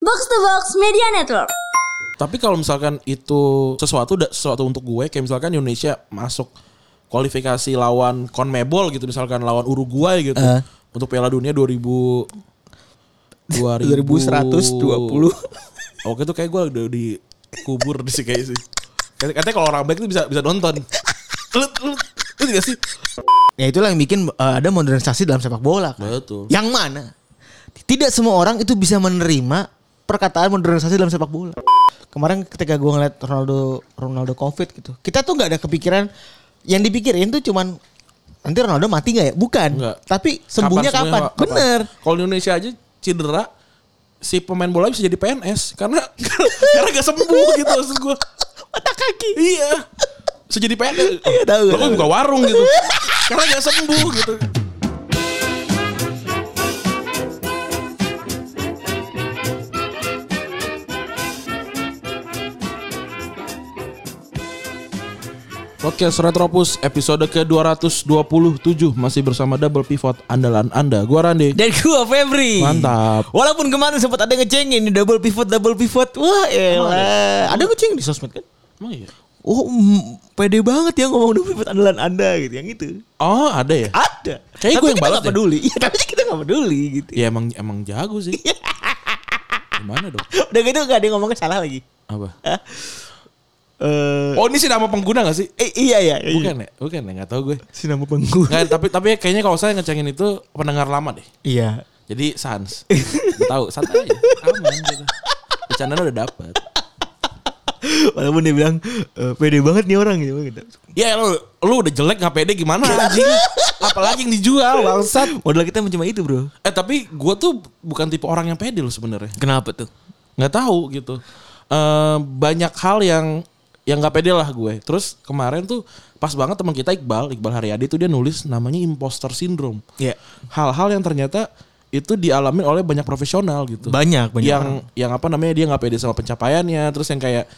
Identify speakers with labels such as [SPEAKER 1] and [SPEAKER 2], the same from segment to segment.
[SPEAKER 1] Box to Box Media Network.
[SPEAKER 2] Tapi kalau misalkan itu sesuatu da- sesuatu untuk gue kayak misalkan Indonesia masuk kualifikasi lawan CONMEBOL gitu misalkan lawan Uruguay gitu
[SPEAKER 3] Eh.
[SPEAKER 2] untuk Piala Dunia 2000
[SPEAKER 3] 2120.
[SPEAKER 2] Oke tuh kayak gue udah dikubur di sih kayak sih. Katanya katanya kalau orang baik tuh bisa bisa nonton. Lu lu lu tidak sih?
[SPEAKER 3] Ya itulah yang bikin eh, ada modernisasi dalam sepak bola. kan.
[SPEAKER 2] Betul.
[SPEAKER 3] Yang mana? Tidak semua orang itu bisa menerima perkataan modernisasi dalam sepak bola. Kemarin ketika gue ngeliat Ronaldo Ronaldo COVID gitu, kita tuh nggak ada kepikiran yang dipikirin tuh cuman nanti Ronaldo mati nggak ya? Bukan.
[SPEAKER 2] Nggak.
[SPEAKER 3] Tapi sembuhnya
[SPEAKER 2] sembuhnya
[SPEAKER 3] kapan?
[SPEAKER 2] kapan?
[SPEAKER 3] Bener.
[SPEAKER 2] Kalau di Indonesia aja cedera si pemain bola bisa jadi PNS karena karena gak sembuh gitu maksud gue.
[SPEAKER 3] Mata kaki.
[SPEAKER 2] Iya. Bisa jadi PNS.
[SPEAKER 3] Iya, tahu,
[SPEAKER 2] Bahkan
[SPEAKER 3] tahu.
[SPEAKER 2] buka warung gitu. karena gak sembuh gitu. Podcast Retropus episode ke-227 masih bersama double pivot andalan Anda. Gua Randi.
[SPEAKER 3] Dan gua Febri.
[SPEAKER 2] Mantap.
[SPEAKER 3] Walaupun kemarin sempat ada ngecengin ini double pivot double pivot. Wah, elah. Ada ngecengin di sosmed kan?
[SPEAKER 2] Emang iya?
[SPEAKER 3] Oh, mm, pede banget ya ngomong double pivot andalan Anda gitu, yang itu.
[SPEAKER 2] Oh, ada ya?
[SPEAKER 3] Ada.
[SPEAKER 2] Kayaknya
[SPEAKER 3] Tapi
[SPEAKER 2] gua yang
[SPEAKER 3] kita
[SPEAKER 2] balas
[SPEAKER 3] nggak
[SPEAKER 2] deh.
[SPEAKER 3] peduli. Iya, tapi kita gak peduli gitu.
[SPEAKER 2] Ya emang emang jago sih. Gimana dong?
[SPEAKER 3] Udah gitu gak ada yang ngomongnya salah lagi.
[SPEAKER 2] Apa?
[SPEAKER 3] Eh,
[SPEAKER 2] Oh, ini sih nama pengguna gak sih?
[SPEAKER 3] eh, iya ya. iya.
[SPEAKER 2] Bukan ya? Bukan ya? Gak tau gue.
[SPEAKER 3] Si nama pengguna.
[SPEAKER 2] Nggak, tapi tapi kayaknya kalau saya ngecengin itu pendengar lama deh.
[SPEAKER 3] Iya.
[SPEAKER 2] Jadi sans. Nggak Tahu, santai aja. Aman gitu. Bercandaan udah dapat.
[SPEAKER 3] Walaupun dia bilang eh, pede banget nih orang gitu. gitu.
[SPEAKER 2] Ya lu, lu udah jelek nggak pede gimana anjing? Apalagi yang dijual bangsat.
[SPEAKER 3] Modal kita cuma itu, Bro.
[SPEAKER 2] Eh tapi gue tuh bukan tipe orang yang pede lo sebenarnya.
[SPEAKER 3] Kenapa tuh?
[SPEAKER 2] Nggak tahu gitu. Eh banyak hal yang yang nggak pede lah gue. Terus kemarin tuh pas banget teman kita Iqbal, Iqbal Haryadi tuh dia nulis namanya imposter syndrome.
[SPEAKER 3] Iya.
[SPEAKER 2] Hal-hal yang ternyata itu dialami oleh banyak profesional gitu.
[SPEAKER 3] Banyak, banyak
[SPEAKER 2] yang yang apa namanya dia nggak pede sama pencapaiannya terus yang kayak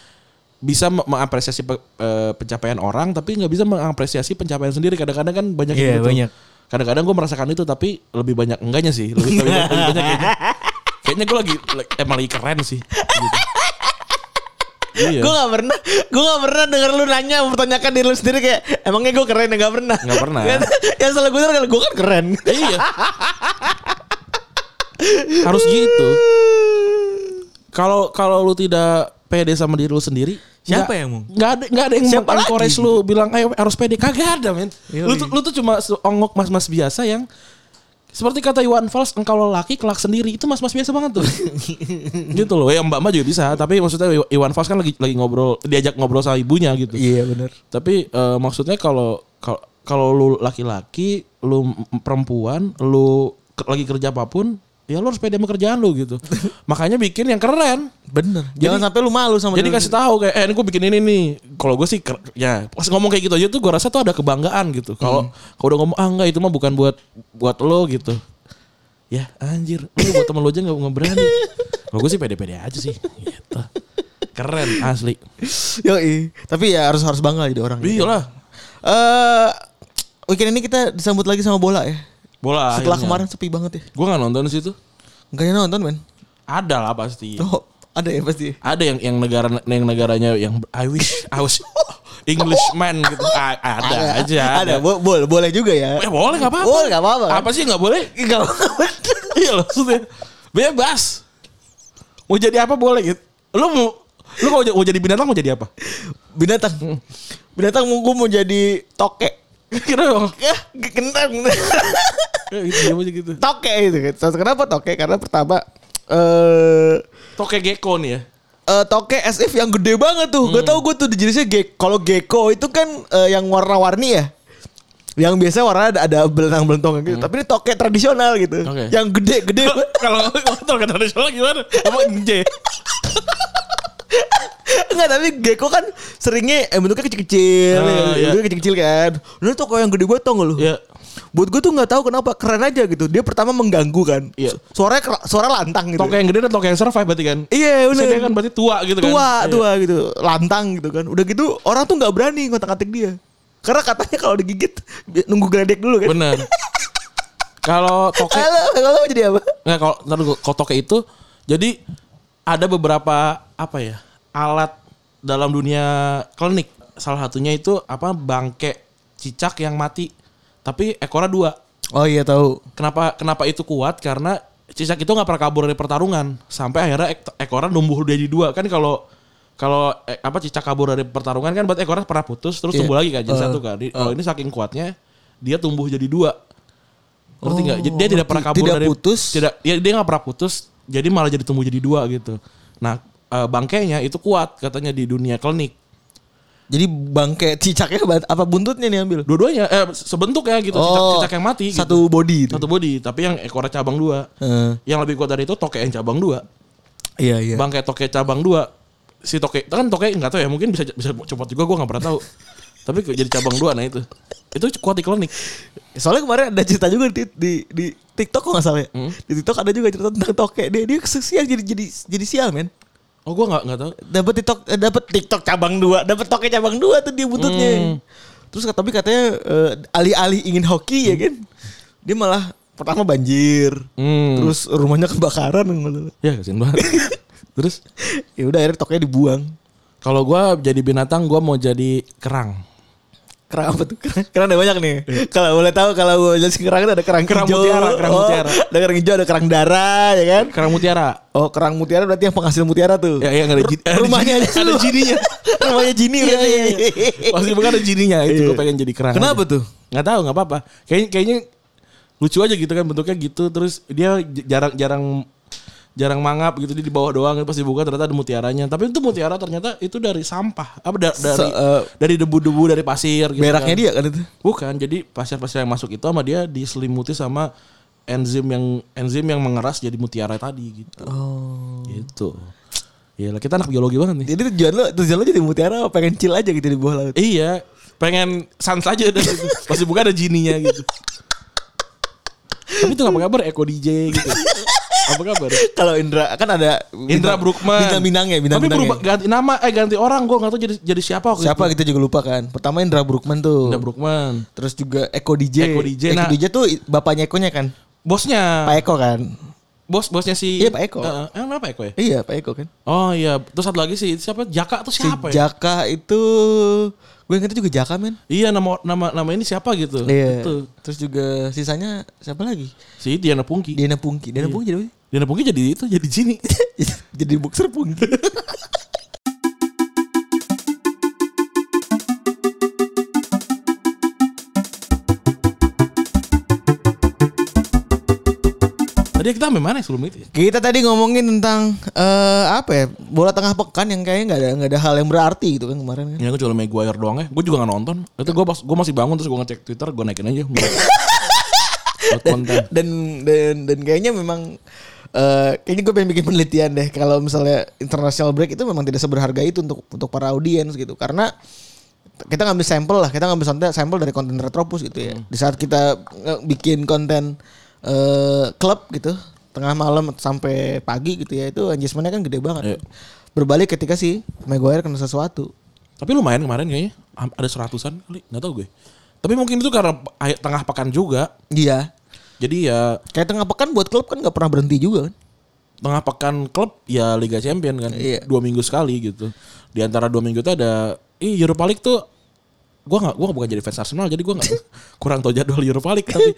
[SPEAKER 2] bisa me- mengapresiasi pe- eh, pencapaian orang tapi nggak bisa mengapresiasi pencapaian sendiri kadang-kadang kan banyak
[SPEAKER 3] Iya,
[SPEAKER 2] yang gitu.
[SPEAKER 3] banyak.
[SPEAKER 2] kadang-kadang gue merasakan itu tapi lebih banyak enggaknya sih lebih, lebih banyak- lebih banyak gitu. kayaknya kayaknya gue lagi le- emang lagi keren sih gitu. iya
[SPEAKER 3] Gue gak pernah Gue gak pernah denger lu nanya Mempertanyakan diri lu sendiri kayak Emangnya gue keren ya gak pernah
[SPEAKER 2] Nggak pernah.
[SPEAKER 3] Ya salah gue kan Gue kan keren
[SPEAKER 2] iya harus gitu kalau kalau lu tidak pede sama diri lu sendiri
[SPEAKER 3] Siapa
[SPEAKER 2] nggak-
[SPEAKER 3] yang mau?
[SPEAKER 2] nggak ada nggak ada yang
[SPEAKER 3] Siapa
[SPEAKER 2] mau encourage
[SPEAKER 3] lagi?
[SPEAKER 2] lu bilang ayo harus pede kagak ada men
[SPEAKER 3] Yoi.
[SPEAKER 2] lu tuh lu tuh cuma se- ongok mas mas biasa yang seperti kata Iwan Fals engkau lelaki kelak sendiri itu mas mas biasa banget tuh gitu loh ya mbak mbak juga bisa tapi maksudnya Iw- Iwan Fals kan lagi lagi ngobrol diajak ngobrol sama ibunya gitu
[SPEAKER 3] Iya bener
[SPEAKER 2] tapi eh, maksudnya kalau kalau- kalau lu laki-laki, lu m- perempuan, lu ke- lagi kerja apapun, ya lu harus pede sama kerjaan lu gitu. Makanya bikin yang keren.
[SPEAKER 3] Bener Jangan sampai lu malu sama
[SPEAKER 2] Jadi kasih tahu kayak eh ini gue bikin ini nih. Kalau gue sih ker- ya pas ngomong kayak gitu aja tuh gue rasa tuh ada kebanggaan gitu. Kalau kalau udah ngomong ah enggak itu mah bukan buat buat lo gitu. Ya anjir, lu buat temen lo aja gak, nggak berani. Kalau gue sih pede-pede aja sih. Gitu. Keren asli.
[SPEAKER 3] Yoi Tapi ya harus harus bangga jadi orang gitu.
[SPEAKER 2] Iya lah.
[SPEAKER 3] Eh, Weekend ini kita disambut lagi sama bola ya
[SPEAKER 2] Bola.
[SPEAKER 3] Setelah
[SPEAKER 2] akhirnya.
[SPEAKER 3] kemarin sepi banget ya
[SPEAKER 2] Gue nggak nonton di situ.
[SPEAKER 3] Gak ada yang nonton men
[SPEAKER 2] Ada lah pasti.
[SPEAKER 3] Oh ada ya pasti
[SPEAKER 2] Ada yang yang negara yang negaranya yang I wish I was Englishman gitu. A- ada, aja.
[SPEAKER 3] Ada, Bo- bol- boleh juga ya
[SPEAKER 2] Eh, boleh nggak apa-apa.
[SPEAKER 3] Boleh, nggak apa-apa, kan?
[SPEAKER 2] Apa sih nggak boleh?
[SPEAKER 3] Gak
[SPEAKER 2] iya loh, maksudnya bebas. Mau jadi apa boleh gitu. Lu mau lu kalau j- mau jadi binatang mau jadi apa?
[SPEAKER 3] Binatang Binatang gue mau jadi toke
[SPEAKER 2] Kira
[SPEAKER 3] Yah, Kentang
[SPEAKER 2] gitu dia mau jadi gitu.
[SPEAKER 3] toke itu kan. Kenapa toke? Karena pertama eh
[SPEAKER 2] Toke gecko nih ya.
[SPEAKER 3] eh, toke SF yang gede banget tuh.
[SPEAKER 2] Hmm.
[SPEAKER 3] Gak tau gue tuh jenisnya gek. Kalau gecko itu kan eh, yang warna-warni ya. Yang biasa warna ada, ada belentang-belentong gitu. Tapi ini toke tradisional gitu.
[SPEAKER 2] Hmm. Oke.
[SPEAKER 3] Yang gede-gede.
[SPEAKER 2] Kalau toke tradisional gimana? Apa ya? enje?
[SPEAKER 3] Enggak tapi gecko kan seringnya eh, bentuknya kecil-kecil.
[SPEAKER 2] Ah,
[SPEAKER 3] ya.
[SPEAKER 2] iya.
[SPEAKER 3] Bentuknya kecil-kecil kan. Ini toko yang gede banget tau gak lu?
[SPEAKER 2] Iya.
[SPEAKER 3] Buat gue tuh gak tahu kenapa. Keren aja gitu. Dia pertama mengganggu kan.
[SPEAKER 2] Iya.
[SPEAKER 3] Suaranya kera- suara lantang gitu.
[SPEAKER 2] Toke yang gede dan toke yang survive berarti kan?
[SPEAKER 3] Iya
[SPEAKER 2] Bisa
[SPEAKER 3] bener.
[SPEAKER 2] dia kan berarti tua gitu kan.
[SPEAKER 3] tua
[SPEAKER 2] Iya.
[SPEAKER 3] tua gitu lantang gitu kan udah gitu orang tuh nggak berani ngotak atik dia karena katanya kalau digigit bi- nunggu geledek dulu kan
[SPEAKER 2] Bener. Kalau toke
[SPEAKER 3] halo halo jadi apa
[SPEAKER 2] Nggak kalau ntar gua- kalau toke itu jadi ada beberapa apa ya alat dalam dunia klinik. Salah satunya itu apa bangke cicak yang mati, tapi ekornya dua.
[SPEAKER 3] Oh iya tahu.
[SPEAKER 2] Kenapa kenapa itu kuat? Karena cicak itu nggak pernah kabur dari pertarungan sampai akhirnya ek- ekornya numbuh jadi dua kan kalau kalau eh, apa cicak kabur dari pertarungan kan berarti ekornya pernah putus terus
[SPEAKER 3] Iya.
[SPEAKER 2] tumbuh lagi kan jadi
[SPEAKER 3] Eh,
[SPEAKER 2] satu kan. Di- Kalau ini saking kuatnya dia tumbuh jadi dua. Ngerti nggak? Jadi dia tidak
[SPEAKER 3] Oh, ngerti.
[SPEAKER 2] pernah kabur
[SPEAKER 3] Tidak
[SPEAKER 2] dari
[SPEAKER 3] putus.
[SPEAKER 2] Tidak, ya dia nggak pernah putus. Jadi malah jadi tumbuh jadi dua gitu. Nah eh, bangkainya itu kuat katanya di dunia klinik.
[SPEAKER 3] Jadi bangke cicaknya kebat- apa buntutnya nih ambil?
[SPEAKER 2] Dua-duanya eh, sebentuk ya gitu. Cicak,
[SPEAKER 3] Oh,
[SPEAKER 2] cicak yang mati. gitu.
[SPEAKER 3] Satu body. itu.
[SPEAKER 2] satu body. Tapi yang ekornya cabang dua.
[SPEAKER 3] Eh,
[SPEAKER 2] Yang lebih kuat dari itu tokek yang cabang dua.
[SPEAKER 3] iya iya.
[SPEAKER 2] bangkai toke cabang dua si toke kan toke nggak tahu ya mungkin bisa bisa copot juga gue nggak pernah tahu tapi kok jadi cabang dua nah itu itu kuat di klinik
[SPEAKER 3] Soalnya kemarin ada cerita juga di di, di TikTok kok nggak salah ya. Di TikTok ada juga cerita tentang tokek. Dia dia sial jadi jadi jadi sial men.
[SPEAKER 2] oh gue nggak nggak tahu
[SPEAKER 3] Dapat TikTok eh, dapat TikTok cabang dua, dapat tokek cabang dua tuh dia
[SPEAKER 2] Hmm.
[SPEAKER 3] buntutnya. Terus kata- tapi katanya eh, alih-alih ingin hoki ya kan. Dia malah pertama banjir.
[SPEAKER 2] Hmm.
[SPEAKER 3] Terus rumahnya kebakaran nggak salah.
[SPEAKER 2] ya kasihan banget terus
[SPEAKER 3] Ya udah akhirnya tokeknya dibuang.
[SPEAKER 2] kalau gue jadi binatang gue mau jadi kerang
[SPEAKER 3] Kerang apa tuh? Kerang, kerang ada banyak nih. Kalau boleh tahu kalau gue jelasin kerang itu ada kerang,
[SPEAKER 2] Iya. Kerang
[SPEAKER 3] hijau.
[SPEAKER 2] mutiara, kerang
[SPEAKER 3] Oh,
[SPEAKER 2] mutiara.
[SPEAKER 3] Ada kerang hijau, ada kerang darah ya kan?
[SPEAKER 2] kerang mutiara
[SPEAKER 3] Oh kerang mutiara berarti yang penghasil mutiara tuh.
[SPEAKER 2] ya yang ada, jin- ada
[SPEAKER 3] rumahnya
[SPEAKER 2] jin-
[SPEAKER 3] aja
[SPEAKER 2] ada
[SPEAKER 3] dulu.
[SPEAKER 2] jininya
[SPEAKER 3] Rumahnya jini
[SPEAKER 2] Iya,
[SPEAKER 3] berarti.
[SPEAKER 2] iya, iya. pasti bukan ada jininya itu gue pengen jadi kerang
[SPEAKER 3] Iya. Kenapa tuh?
[SPEAKER 2] nggak tahu nggak apa-apa kayaknya kayaknya lucu aja gitu kan bentuknya gitu terus dia j- jarang jarang jarang mangap gitu dia di bawah doang pas dibuka ternyata ada mutiaranya tapi itu mutiara ternyata itu dari sampah apa da- dari
[SPEAKER 3] Se- eh,
[SPEAKER 2] dari debu-debu dari pasir gitu
[SPEAKER 3] Beraknya
[SPEAKER 2] kan.
[SPEAKER 3] dia kan itu.
[SPEAKER 2] bukan jadi pasir-pasir yang masuk itu sama dia diselimuti sama enzim yang enzim yang mengeras jadi mutiara tadi gitu
[SPEAKER 3] Oh.
[SPEAKER 2] gitu Iya, kita anak biologi banget nih
[SPEAKER 3] Jadi tujuan lo tujuan lo jadi mutiara apa? pengen chill aja gitu di bawah laut.
[SPEAKER 2] iya pengen sans aja dan pasti buka ada jininya gitu tapi itu apa kabar Eko DJ gitu apa kabar
[SPEAKER 3] Kalau Indra kan ada
[SPEAKER 2] Indra Brukman
[SPEAKER 3] bintang bintangnya bintang ya.
[SPEAKER 2] tapi berubah ganti nama eh ganti orang gue nggak tahu jadi jadi siapa gitu? waktu
[SPEAKER 3] Siapa
[SPEAKER 2] itu.
[SPEAKER 3] kita juga lupa kan. Pertama Indra Brukman tuh.
[SPEAKER 2] Indra Brukman
[SPEAKER 3] Terus juga Eko DJ.
[SPEAKER 2] Eko DJ, nah.
[SPEAKER 3] tuh bapaknya Ekonya kan.
[SPEAKER 2] bosnya
[SPEAKER 3] Pak Eko kan.
[SPEAKER 2] bos bosnya si
[SPEAKER 3] Iya, Pak Eko.
[SPEAKER 2] Eh, eh, emang E- Pak Eko ya
[SPEAKER 3] Iya Pak Eko kan.
[SPEAKER 2] oh iya terus satu lagi si siapa Jaka tuh
[SPEAKER 3] Si
[SPEAKER 2] siapa ya
[SPEAKER 3] Jaka itu gue ingetnya juga Jaka men.
[SPEAKER 2] iya nama nama nama ini siapa gitu
[SPEAKER 3] Iya.
[SPEAKER 2] Itu.
[SPEAKER 3] Terus juga sisanya siapa lagi?
[SPEAKER 2] si Diana Pungki
[SPEAKER 3] Diana Pungki. Diana
[SPEAKER 2] Iya.
[SPEAKER 3] Pungki jadi apa sih?
[SPEAKER 2] Diana Pungki jadi itu jadi jini
[SPEAKER 3] jadi boxer Pungki.
[SPEAKER 2] tadi kita sampai mana ya sebelum itu ya?
[SPEAKER 3] Kita tadi ngomongin tentang eh, apa ya? Bola tengah pekan yang kayaknya nggak ada nggak ada hal yang berarti gitu kan kemarin kan.
[SPEAKER 2] Ya gue cuma Maguire doang ya. Gue juga gak nonton. Itu gue pas gue masih bangun terus gue ngecek Twitter, gue naikin aja. Buat konten.
[SPEAKER 3] Dan dan dan kayaknya memang eh, kayaknya gue pengen bikin penelitian deh kalau misalnya international break itu memang tidak seberharga itu untuk untuk para audiens gitu karena kita ngambil sampel lah kita ngambil sampel sampel dari konten retropus gitu
[SPEAKER 2] Hmm.
[SPEAKER 3] ya di saat kita eh, bikin konten eh, klub gitu tengah malam sampai pagi gitu ya itu adjustmentnya kan gede banget
[SPEAKER 2] Iya.
[SPEAKER 3] berbalik ketika si Maguire kena sesuatu
[SPEAKER 2] Tapi lumayan kemarin kayaknya. Am- Ada seratusan kali, gak tau gue. Tapi mungkin itu karena akhir- tengah pekan juga.
[SPEAKER 3] Iya.
[SPEAKER 2] Jadi ya
[SPEAKER 3] Kayak tengah pekan buat klub kan nggak pernah berhenti juga kan?
[SPEAKER 2] tengah pekan klub ya Liga Champion kan.
[SPEAKER 3] Iya.
[SPEAKER 2] Dua minggu sekali gitu. Di antara dua minggu itu ada Ih, Europa League tuh gue gak gue bukan jadi fans Arsenal jadi gue gak kurang tau jadwal Europa League tapi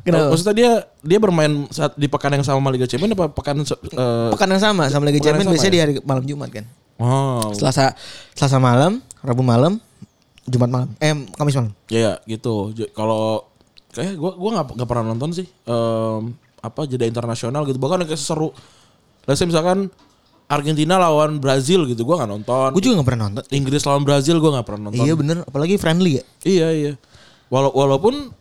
[SPEAKER 3] Kenapa?
[SPEAKER 2] maksudnya dia dia bermain saat di pekan yang sama Liga Champion apa pekan se- eh,
[SPEAKER 3] Pekan yang sama sama Liga
[SPEAKER 2] Pekan yang
[SPEAKER 3] Champions
[SPEAKER 2] sama
[SPEAKER 3] biasanya
[SPEAKER 2] ya?
[SPEAKER 3] di hari malam Jumat kan.
[SPEAKER 2] wow
[SPEAKER 3] Selasa Selasa malam, Rabu malam, Jumat malam. Eh Kamis malam.
[SPEAKER 2] Ya, ya, gitu. J- Kalau kayak gua gua nggak nggak pernah nonton sih em, apa jeda internasional gitu. Bahkan yang kayak seru. Let's say misalkan Argentina lawan Brazil gitu, gua nggak nonton.
[SPEAKER 3] Gue juga nggak pernah nonton.
[SPEAKER 2] Inggris lawan Brazil gua nggak pernah nonton.
[SPEAKER 3] Iya bener, apalagi friendly ya.
[SPEAKER 2] Iya, iya. Wala- walaupun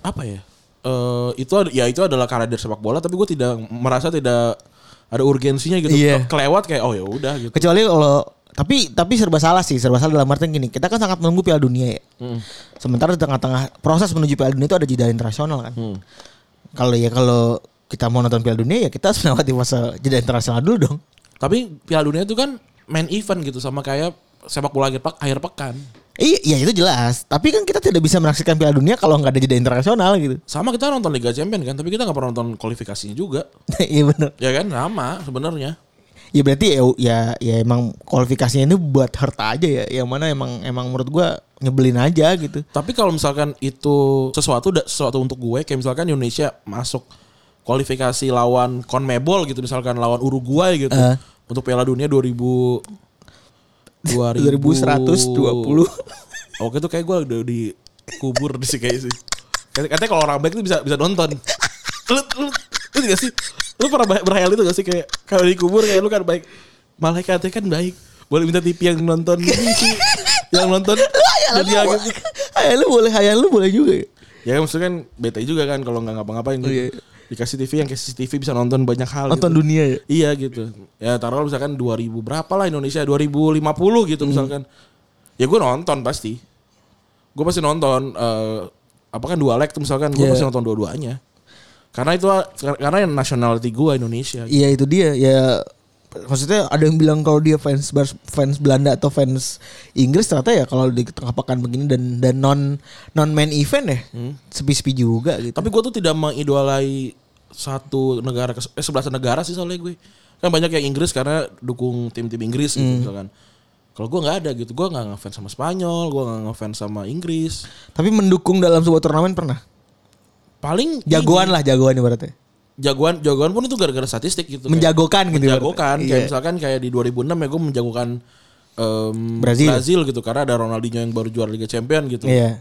[SPEAKER 2] apa ya? eh, itu ad- ya itu adalah karir sepak bola tapi gue tidak merasa tidak ada urgensinya gitu.
[SPEAKER 3] Iya.
[SPEAKER 2] Ke- Kelewat kayak oh ya udah gitu.
[SPEAKER 3] Kecuali kalau tapi tapi serba salah sih, serba salah dalam artian gini. Kita kan sangat menunggu Piala Dunia ya. Sementara di tengah-tengah proses menuju Piala Dunia itu ada jeda internasional kan. Kalau ya kalau kita mau nonton Piala Dunia ya kita harus melewati masa jeda internasional dulu dong.
[SPEAKER 2] Tapi Piala Dunia itu kan main event gitu sama kayak sepak bola akhir, pe- akhir pekan.
[SPEAKER 3] Iya, iya itu jelas. Tapi kan kita tidak bisa menyaksikan Piala Dunia kalau nggak ada jeda internasional gitu.
[SPEAKER 2] Sama kita nonton Liga Champion kan, tapi kita nggak pernah nonton kualifikasinya juga,
[SPEAKER 3] Iya benar.
[SPEAKER 2] ya kan? Sama sebenarnya.
[SPEAKER 3] ya berarti ya ya, ya emang kualifikasinya ini buat Hertha aja ya yang mana emang emang menurut gua nyebelin aja gitu
[SPEAKER 2] Tapi kalau misalkan itu sesuatu da- sesuatu untuk gue kayak misalkan Indonesia masuk kualifikasi lawan CONMEBOL gitu misalkan lawan Uruguay gitu
[SPEAKER 3] Eh.
[SPEAKER 2] untuk Piala Dunia 2000 2000
[SPEAKER 3] 2120.
[SPEAKER 2] Oke tuh kayak gue udah dikubur di sih kayak sih. Katanya katanya kalau orang baik itu bisa bisa nonton. Lu lu lu gak sih? Lu pernah bah- berhayal itu gak sih kayak kalau dikubur kayak lu kan baik. Malaikatnya kan baik. Boleh minta TV yang nonton yang nonton gitu.
[SPEAKER 3] Hayalan
[SPEAKER 2] jadi
[SPEAKER 3] lu,
[SPEAKER 2] agak-
[SPEAKER 3] hayal lu boleh hayal lu boleh juga ya.
[SPEAKER 2] Ya kan maksudnya kan bete juga kan kalau nggak ngapa-ngapain gitu.
[SPEAKER 3] Iya.
[SPEAKER 2] Dikasih TV yang kayak CCTV bisa nonton banyak hal.
[SPEAKER 3] nonton
[SPEAKER 2] gitu.
[SPEAKER 3] dunia ya
[SPEAKER 2] Iya gitu. Ya taruh misalkan 2000 berapa lah Indonesia 2050 gitu
[SPEAKER 3] Hmm.
[SPEAKER 2] misalkan. Ya gue nonton pasti. Gue pasti nonton eh apa kan dua leg tuh misalkan gue
[SPEAKER 3] Iya.
[SPEAKER 2] pasti nonton dua-duanya. Karena itu karena yang nationality gue Indonesia.
[SPEAKER 3] iya itu dia ya maksudnya ada yang bilang kalau dia fans Bar- fans Belanda atau fans Inggris ternyata ya kalau di tengah pekan begini dan dan non non main event ya sepi-sepi juga gitu
[SPEAKER 2] Tapi gue tuh tidak mengidolai satu negara ke eh, sebelas negara sih soalnya gue. Kan banyak yang Inggris karena dukung tim-tim Inggris
[SPEAKER 3] Hmm.
[SPEAKER 2] gitu misalkan. Kalau gue nggak ada gitu, gue nggak ngefans sama Spanyol, gue nggak ngefans sama Inggris.
[SPEAKER 3] tapi mendukung dalam sebuah turnamen pernah
[SPEAKER 2] Paling ini,
[SPEAKER 3] jagoan lah jagoan ibaratnya
[SPEAKER 2] jagoan, jagoan pun itu gara-gara statistik gitu. Kayak
[SPEAKER 3] menjagokan gitu
[SPEAKER 2] menjagokan.
[SPEAKER 3] ibaratnya.
[SPEAKER 2] Kayak
[SPEAKER 3] Iya.
[SPEAKER 2] misalkan kayak di 2006 ya gue menjagokan em,
[SPEAKER 3] Brazil.
[SPEAKER 2] gitu karena ada Ronaldinho yang baru juara Liga Champion gitu.
[SPEAKER 3] Iya.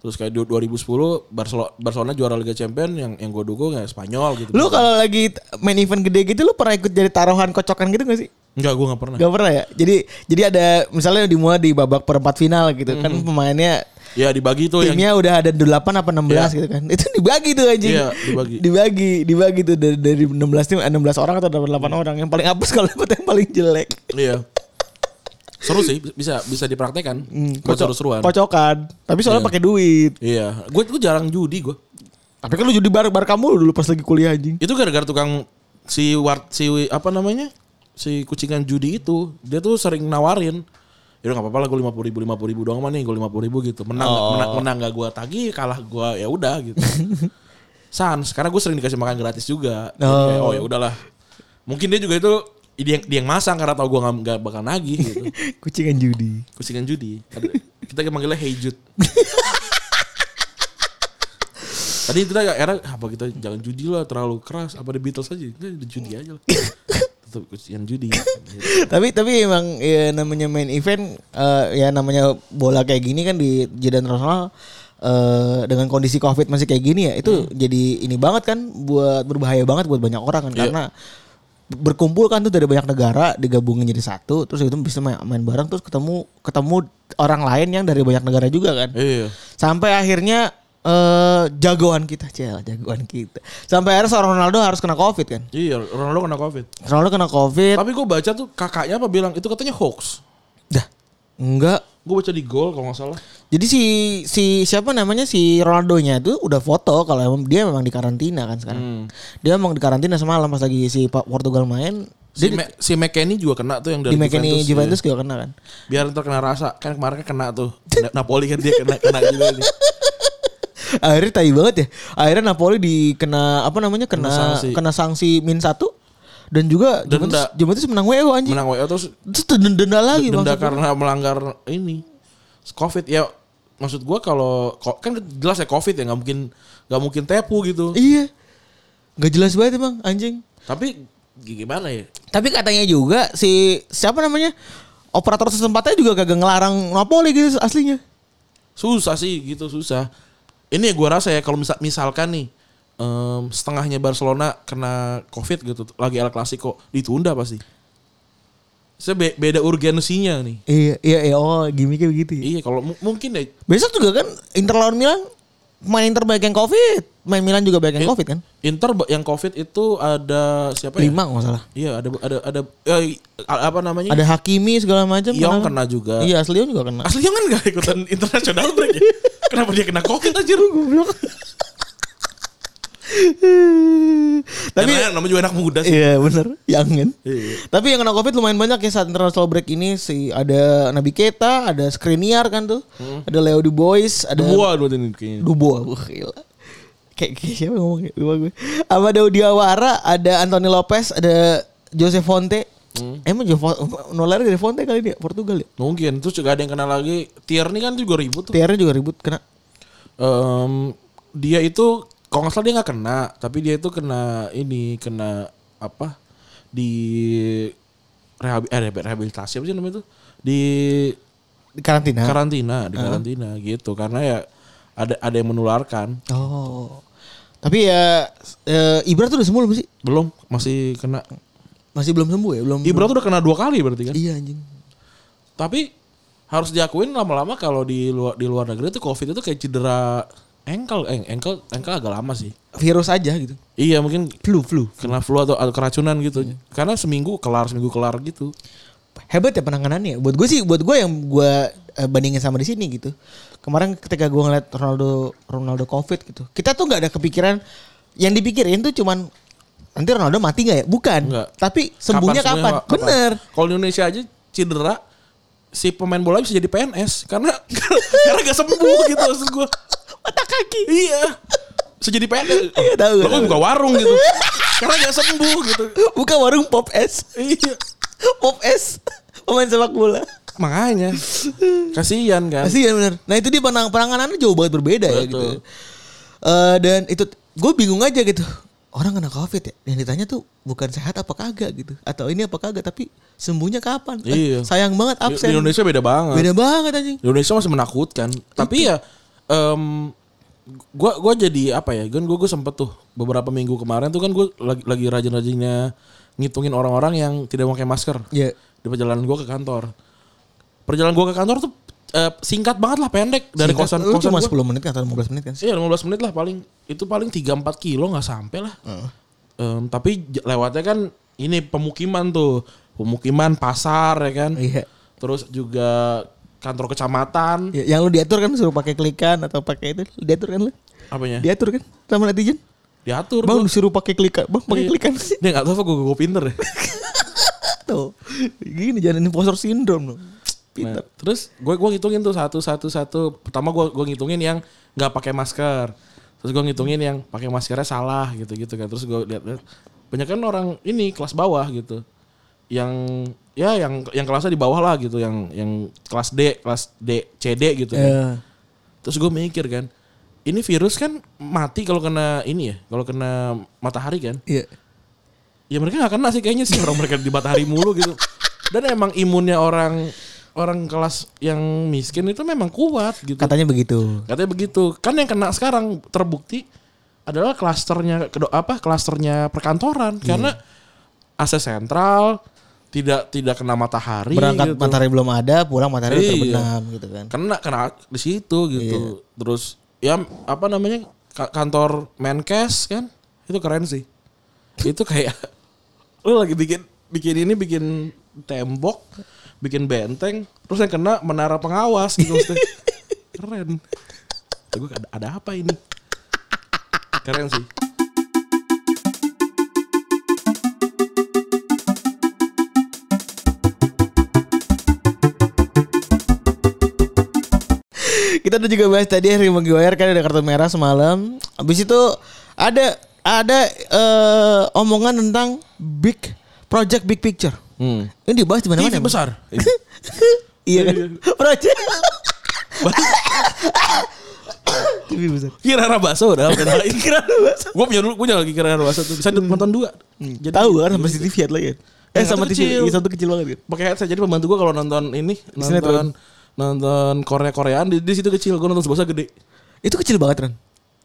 [SPEAKER 2] Terus kayak du- 2010 Barcelona, Barcelona juara Liga Champion yang yang gue dukung ya Spanyol gitu.
[SPEAKER 3] Lu kalau lagi t- main event gede gitu lu pernah ikut jadi taruhan kocokan gitu gak sih?
[SPEAKER 2] Enggak, gue nggak pernah.
[SPEAKER 3] Gak pernah ya. Jadi jadi ada misalnya dimulai di babak perempat final gitu kan pemainnya
[SPEAKER 2] Ya dibagi tuh Mm-hmm. yang
[SPEAKER 3] timnya udah ada 8 apa 16 gitu kan. Itu dibagi tuh anjing.
[SPEAKER 2] Iya, dibagi.
[SPEAKER 3] Dibagi, dibagi tuh dari, dari 16 tim eh, 16 orang atau 8 orang yang paling apes kalau dapat yang paling jelek.
[SPEAKER 2] Iya. Seru sih, bisa bisa dipraktekan. Buat
[SPEAKER 3] Hmm, Kocok-
[SPEAKER 2] seru-seruan.
[SPEAKER 3] Kocokan. Tapi soalnya pakai duit.
[SPEAKER 2] Iya, gue gue jarang judi gue.
[SPEAKER 3] Tapi kan lu jadi bar bar kamu dulu pas lagi kuliah anjing.
[SPEAKER 2] Itu gara-gara tukang si war si apa namanya? Si kucingan judi itu, dia tuh sering nawarin. Ya udah gak apa-apa lah gue 50 ribu, 50 ribu doang mah nih gue 50 ribu gitu. Menang,
[SPEAKER 3] Oh.
[SPEAKER 2] menang, menang gak gue tagih, kalah gue ya udah gitu. Sans, karena gue sering dikasih makan gratis juga. Jadi
[SPEAKER 3] Oh.
[SPEAKER 2] kayak, oh ya udahlah. Mungkin dia juga itu dia yang, dia yang masang karena tau gue gak, nggak bakal nagih gitu.
[SPEAKER 3] Kucingan judi.
[SPEAKER 2] Kucingan judi. Ada- Kita manggilnya Hey Jude. Tadi kita ya era apa kita jangan judi lah terlalu keras apa di Beatles aja enggak di judi aja lah. Tetap kucingan judi.
[SPEAKER 3] tapi tapi emang ya, namanya main event eh, ya namanya bola kayak gini kan di jeda internasional eh, dengan kondisi covid masih kayak gini ya itu jadi ini banget kan buat berbahaya banget buat banyak orang kan karena berkumpul kan tuh dari banyak negara digabungin jadi satu terus itu bisa main, main bareng terus ketemu ketemu orang lain yang dari banyak negara juga kan
[SPEAKER 2] Iya.
[SPEAKER 3] sampai akhirnya eh jagoan kita cel jagoan kita sampai akhirnya seorang Ronaldo harus kena covid kan
[SPEAKER 2] Iya, Ronaldo kena Covid.
[SPEAKER 3] Ronaldo kena covid
[SPEAKER 2] Tapi gue baca tuh kakaknya apa bilang itu katanya hoax.
[SPEAKER 3] dah enggak
[SPEAKER 2] Gue baca di Gol kalau nggak salah.
[SPEAKER 3] Jadi si si siapa namanya si Ronaldonya itu udah foto kalau emang dia memang di karantina kan sekarang.
[SPEAKER 2] Hmm.
[SPEAKER 3] Dia memang di karantina semalam pas lagi si Pa- Portugal main
[SPEAKER 2] Si, Me- si McKennie juga kena tuh yang dari
[SPEAKER 3] di
[SPEAKER 2] Juventus.
[SPEAKER 3] McKinney
[SPEAKER 2] Iya.
[SPEAKER 3] Juventus juga kena kan.
[SPEAKER 2] Biar ntar kena rasa. Kan kemarin kan kena tuh. Na- Napoli kan dia kena kena juga nih.
[SPEAKER 3] Akhirnya tai banget ya. Akhirnya Napoli dikena apa namanya kena
[SPEAKER 2] Kena
[SPEAKER 3] kena
[SPEAKER 2] sanksi.
[SPEAKER 3] sanksi, min 1 dan juga Juventus
[SPEAKER 2] Denda.
[SPEAKER 3] Juventus menang WO anjing.
[SPEAKER 2] Menang WO terus
[SPEAKER 3] Terus denda, denda lagi
[SPEAKER 2] denda kan.
[SPEAKER 3] maksudnya.
[SPEAKER 2] karena melanggar ini covid ya maksud gua kalau ko- kan jelas ya covid ya nggak mungkin nggak mungkin tepu gitu
[SPEAKER 3] Iya. Gak jelas banget emang anjing.
[SPEAKER 2] tapi gimana ya
[SPEAKER 3] Tapi katanya juga si siapa namanya operator sesempatnya juga kagak ngelarang Napoli gitu aslinya.
[SPEAKER 2] susah sih gitu susah ini ya gua rasa ya kalau misal misalkan nih em, setengahnya Barcelona kena covid gitu lagi El Clasico ditunda pasti Saya be- beda urgensinya nih
[SPEAKER 3] Iya, iya, iya, oh gimmicknya begitu ya.
[SPEAKER 2] iya kalau mu- mungkin ya
[SPEAKER 3] Besok juga kan Inter lawan Milan, main Inter banyak yang Covid, main Milan juga banyak yang Covid kan?
[SPEAKER 2] Inter ba- yang covid itu ada siapa ya
[SPEAKER 3] Lima kalau nggak salah.
[SPEAKER 2] Iya. iya ada ada ada eh, apa namanya
[SPEAKER 3] Ada Hakimi segala macam.
[SPEAKER 2] Yong
[SPEAKER 3] kan?
[SPEAKER 2] kena juga.
[SPEAKER 3] Iya, asli Yong juga kena.
[SPEAKER 2] Aslinya kan gak ikutan internasional break ya? Kenapa dia kena covid aja lu goblok?
[SPEAKER 3] Tapi
[SPEAKER 2] Tapi namanya juga anak muda sih.
[SPEAKER 3] iya benar, yang kan.
[SPEAKER 2] Iya.
[SPEAKER 3] Tapi yang kena Covid lumayan banyak ya saat international break ini si ada Nabi Keta, ada Skriniar kan tuh.
[SPEAKER 2] Hmm.
[SPEAKER 3] Ada Leo Dubois, ada
[SPEAKER 2] Dua dua ini kayaknya.
[SPEAKER 3] Dubois. Wah, gila. Kayak, kayak siapa yang ngomong kayak Dubois gue. Sama Daudi Awara, ada Anthony Lopez, ada Jose Fonte.
[SPEAKER 2] Hmm.
[SPEAKER 3] Emang Jovo nular dari Fonte kali dia Portugal ya.
[SPEAKER 2] Mungkin terus juga ada yang kenal lagi. Tierney kan juga ribut tuh.
[SPEAKER 3] Tiarnya juga ribut kena.
[SPEAKER 2] Em, dia itu kalau nggak salah dia nggak kena, tapi dia itu kena ini kena apa di rehabi, eh, rehabi- rehabilitasi apa sih namanya itu di
[SPEAKER 3] Di karantina.
[SPEAKER 2] karantina di karantina gitu karena ya ada ada yang menularkan
[SPEAKER 3] oh. Tapi ya eh, Ibra tuh udah sembuh belum sih?
[SPEAKER 2] belum masih kena
[SPEAKER 3] Masih belum sembuh ya, belum.
[SPEAKER 2] Ibra tuh udah kena dua kali berarti kan
[SPEAKER 3] Iya anjing.
[SPEAKER 2] tapi harus diakuin lama-lama kalau di luar di luar negeri tuh covid itu kayak cedera engkel eh, engkel engkel agak lama sih
[SPEAKER 3] Virus aja gitu.
[SPEAKER 2] iya mungkin
[SPEAKER 3] Flu, flu. Iya.
[SPEAKER 2] kena flu atau, atau keracunan gitu karena seminggu kelar seminggu kelar gitu
[SPEAKER 3] hebat ya penanganannya. Buat gue sih, buat gue yang gue eh, bandingin sama di sini gitu. Kemarin ketika gue ngeliat Ronaldo Ronaldo COVID gitu, kita tuh nggak ada kepikiran yang dipikirin tuh cuman nanti Ronaldo mati nggak ya? Bukan.
[SPEAKER 2] Nggak.
[SPEAKER 3] Tapi sembuhnya kapan?
[SPEAKER 2] sembuhnya, kapan?
[SPEAKER 3] Bener.
[SPEAKER 2] kalau di Indonesia aja cedera si pemain bola bisa jadi PNS karena karena gak sembuh gitu maksud gue
[SPEAKER 3] Mata kaki.
[SPEAKER 2] iya bisa jadi PNS
[SPEAKER 3] Iya, tahu,
[SPEAKER 2] Lo
[SPEAKER 3] tahu.
[SPEAKER 2] kan buka warung gitu karena gak sembuh gitu
[SPEAKER 3] Buka warung pop es.
[SPEAKER 2] iya
[SPEAKER 3] pop es. Pemain sepak bola.
[SPEAKER 2] makanya kasihan kan
[SPEAKER 3] Pasti ya bener. Nah itu dia penang penanganannya jauh banget berbeda ya gitu.
[SPEAKER 2] Betul.
[SPEAKER 3] Eh, dan itu gue bingung aja gitu. Orang kena covid ya. Yang ditanya tuh bukan sehat apa kagak gitu. Atau ini apa kagak. Tapi sembuhnya kapan? Eh,
[SPEAKER 2] Iya.
[SPEAKER 3] sayang banget
[SPEAKER 2] Di-
[SPEAKER 3] absen.
[SPEAKER 2] di Indonesia beda banget
[SPEAKER 3] Beda banget anjing.
[SPEAKER 2] Di Indonesia masih menakutkan. Tapi ya em gua gua jadi apa ya? Kan gua gua sempet tuh beberapa minggu kemarin tuh kan gua lagi lagi rajin-rajinnya ngitungin orang-orang yang tidak pakai masker
[SPEAKER 3] Iya.
[SPEAKER 2] di perjalanan gua ke kantor. Perjalanan gua ke kantor tuh eh, singkat banget lah pendek dari
[SPEAKER 3] Singkat,
[SPEAKER 2] kosan
[SPEAKER 3] lu
[SPEAKER 2] kosan
[SPEAKER 3] cuma
[SPEAKER 2] gua.
[SPEAKER 3] 10 menit kan atau 15 menit kan?
[SPEAKER 2] Iya 15 menit lah paling itu paling 3 4 kilo nggak sampai lah. Em, tapi j- lewatnya kan ini pemukiman tuh. Pemukiman, pasar ya kan.
[SPEAKER 3] Iya.
[SPEAKER 2] Terus juga kantor kecamatan.
[SPEAKER 3] Ya, yang lu diatur kan suruh pakai klikan atau pakai itu lu diatur kan lu?
[SPEAKER 2] Apanya?
[SPEAKER 3] Diatur kan sama netizen?
[SPEAKER 2] Iya. diatur gua.
[SPEAKER 3] Bang disuruh pakai klikan, bang pakai
[SPEAKER 2] Iya.
[SPEAKER 3] klikan
[SPEAKER 2] dia nggak tahu apa gue gue pinter ya
[SPEAKER 3] Tuh. Gini jangan imposter syndrome lu.
[SPEAKER 2] Nah,
[SPEAKER 3] Pinter.
[SPEAKER 2] terus gue gua ngitungin tuh satu satu satu pertama gue gua ngitungin yang nggak pakai masker terus gue ngitungin yang pakai maskernya salah gitu gitu kan terus gue lihat lihat, banyak kan orang ini kelas bawah gitu yang ya yang yang kelasnya di bawah lah gitu yang yang kelas D kelas D CD gitu kan.
[SPEAKER 3] Eh.
[SPEAKER 2] Terus gue mikir kan, ini virus kan mati kalau kena ini ya, kalau kena matahari kan.
[SPEAKER 3] Iya.
[SPEAKER 2] Ya mereka nggak kena sih kayaknya sih orang mereka di matahari mulu gitu. Dan emang imunnya orang orang kelas yang miskin itu memang kuat gitu.
[SPEAKER 3] Katanya begitu.
[SPEAKER 2] Katanya begitu. Kan yang kena sekarang terbukti adalah klasternya kedo- apa klasternya perkantoran
[SPEAKER 3] Iya.
[SPEAKER 2] karena AC sentral tidak tidak kena matahari
[SPEAKER 3] Berangkat
[SPEAKER 2] gitu.
[SPEAKER 3] matahari belum ada, pulang matahari
[SPEAKER 2] Iya.
[SPEAKER 3] udah terbenam gitu kan.
[SPEAKER 2] kena kena di situ gitu. Terus ya apa namanya ka- kantor Menkes kan itu keren sih. Itu kayak lu lagi bikin bikin ini bikin tembok, bikin benteng, terus yang kena menara pengawas gitu maksudnya. Keren. Gue ada, ada apa ini? Keren sih.
[SPEAKER 3] Kita udah juga bahas tadi Harry Maguire kan ada kartu merah semalam. Habis itu ada ada eh, omongan tentang big project big picture.
[SPEAKER 2] Hmm.
[SPEAKER 3] Ini dibahas di mana-mana.
[SPEAKER 2] TV
[SPEAKER 3] Bang.
[SPEAKER 2] besar.
[SPEAKER 3] iya kan. project. TV besar.
[SPEAKER 2] Kirana bakso udah apa lain Kirana bakso. Gue punya dulu punya lagi kirana bakso tuh. Bisa nonton dua.
[SPEAKER 3] Jadi tahu kan sama si TV ada lagi. kan? Eh
[SPEAKER 2] Yang
[SPEAKER 3] sama
[SPEAKER 2] satu
[SPEAKER 3] TV
[SPEAKER 2] kecil.
[SPEAKER 3] yang satu kecil banget kan.
[SPEAKER 2] pakai headset jadi pembantu gue kalau nonton ini nonton
[SPEAKER 3] Sinetron.
[SPEAKER 2] nonton Korea Koreaan di, di situ kecil gue nonton sebesar gede
[SPEAKER 3] Itu kecil banget Ran.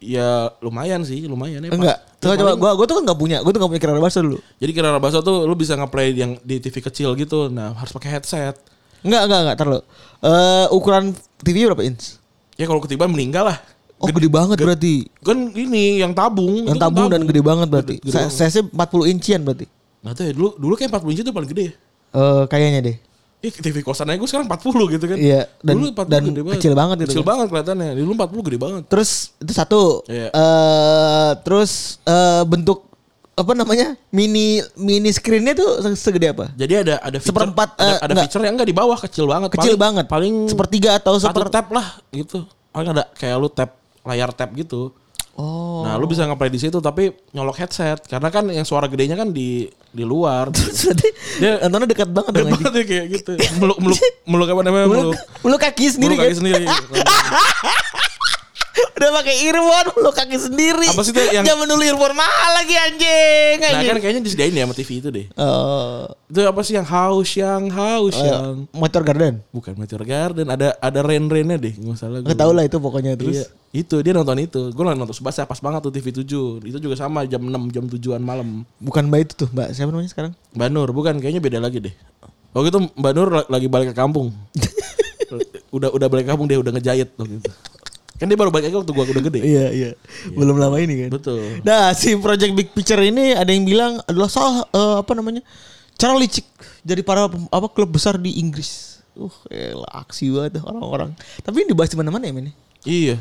[SPEAKER 2] ya lumayan sih lumayan ya Pak.
[SPEAKER 3] Enggak.
[SPEAKER 2] Ya,
[SPEAKER 3] Coba coba
[SPEAKER 2] paling-
[SPEAKER 3] gua gua tuh kan enggak punya. Gua tuh enggak punya kira bahasa dulu.
[SPEAKER 2] jadi kira bahasa tuh lu bisa ngeplay yang di TV kecil gitu nah harus pakai headset
[SPEAKER 3] Enggak, enggak, enggak, tar lu. Eh, ukuran TV berapa inch?
[SPEAKER 2] ya kalau ketiban meninggal lah
[SPEAKER 3] Oh, gede, banget berarti.
[SPEAKER 2] kan ini yang tabung itu kan
[SPEAKER 3] Yang tabung dan gede banget berarti.
[SPEAKER 2] Gede- gede
[SPEAKER 3] Saya Saya sih 40 incian berarti.
[SPEAKER 2] nggak tahu ya dulu dulu kayak 40 inci itu paling gede ya
[SPEAKER 3] Eh, kayaknya deh.
[SPEAKER 2] Ih, TV kosan aja gue sekarang 40 gitu kan.
[SPEAKER 3] Iya, dan-
[SPEAKER 2] dulu 40
[SPEAKER 3] dan
[SPEAKER 2] gede banget.
[SPEAKER 3] kecil banget gitu
[SPEAKER 2] Kecil
[SPEAKER 3] kan.
[SPEAKER 2] banget kelihatannya. Dulu 40 gede banget.
[SPEAKER 3] Terus itu satu. Eh,
[SPEAKER 2] Iya.
[SPEAKER 3] terus eh, bentuk apa namanya? Mini mini screennya tuh se- segede apa?
[SPEAKER 2] Jadi ada ada feature,
[SPEAKER 3] Seperempat,
[SPEAKER 2] ada,
[SPEAKER 3] eh,
[SPEAKER 2] ada
[SPEAKER 3] enggak.
[SPEAKER 2] feature yang enggak di bawah kecil banget.
[SPEAKER 3] Kecil
[SPEAKER 2] Paling-
[SPEAKER 3] banget.
[SPEAKER 2] Paling
[SPEAKER 3] sepertiga atau
[SPEAKER 2] satu
[SPEAKER 3] seper
[SPEAKER 2] tab lah gitu. Paling ada kayak lu tab layar tab gitu.
[SPEAKER 3] Oh.
[SPEAKER 2] Nah, lu bisa ngeplay di situ tapi nyolok headset karena kan yang suara gedenya kan di di luar.
[SPEAKER 3] Berarti
[SPEAKER 2] Dia-
[SPEAKER 3] nontonnya dekat banget dong.
[SPEAKER 2] Deket banget ya kayak gitu. Meluk meluk meluk apa namanya? Meluk.
[SPEAKER 3] Meluk, meluk kaki sendiri
[SPEAKER 2] Meluk kaki
[SPEAKER 3] kan?
[SPEAKER 2] sendiri.
[SPEAKER 3] Udah pakai earphone, meluk kaki sendiri.
[SPEAKER 2] Apa sih tuh yang-
[SPEAKER 3] Jangan dulu earphone mahal lagi anjing.
[SPEAKER 2] Nah,
[SPEAKER 3] anjing.
[SPEAKER 2] kan kayaknya disediain ya sama TV itu deh.
[SPEAKER 3] Eh,
[SPEAKER 2] Itu apa sih yang haus yang haus
[SPEAKER 3] Oh, iya.
[SPEAKER 2] yang
[SPEAKER 3] Ya. motor garden.
[SPEAKER 2] bukan Meteor Garden ada ada rain-rainnya deh nggak salah gue.
[SPEAKER 3] Gak tau lah itu pokoknya
[SPEAKER 2] Iya.
[SPEAKER 3] terus.
[SPEAKER 2] Itu dia nonton itu. Gue nonton Subasa pas banget tuh TV 7. Itu juga sama jam 6 jam 7-an malam.
[SPEAKER 3] Bukan mbak itu tuh, mbak siapa namanya sekarang?
[SPEAKER 2] Mbak Nur bukan kayaknya beda lagi deh. Waktu itu Mbak Nur la- lagi balik ke kampung. udah udah balik ke kampung dia udah ngejahit waktu itu. Kan dia baru balik lagi waktu gua udah gede.
[SPEAKER 3] Iya iya, belum lama ini kan.
[SPEAKER 2] Betul.
[SPEAKER 3] Nah si Project Big Picture ini ada yang bilang adalah salah eh, apa namanya cara licik dari para pem- apa klub besar di Inggris. Uh, elah, aksi banget dah orang-orang. Tapi ini dibahas di mana-mana ya men.
[SPEAKER 2] Iya.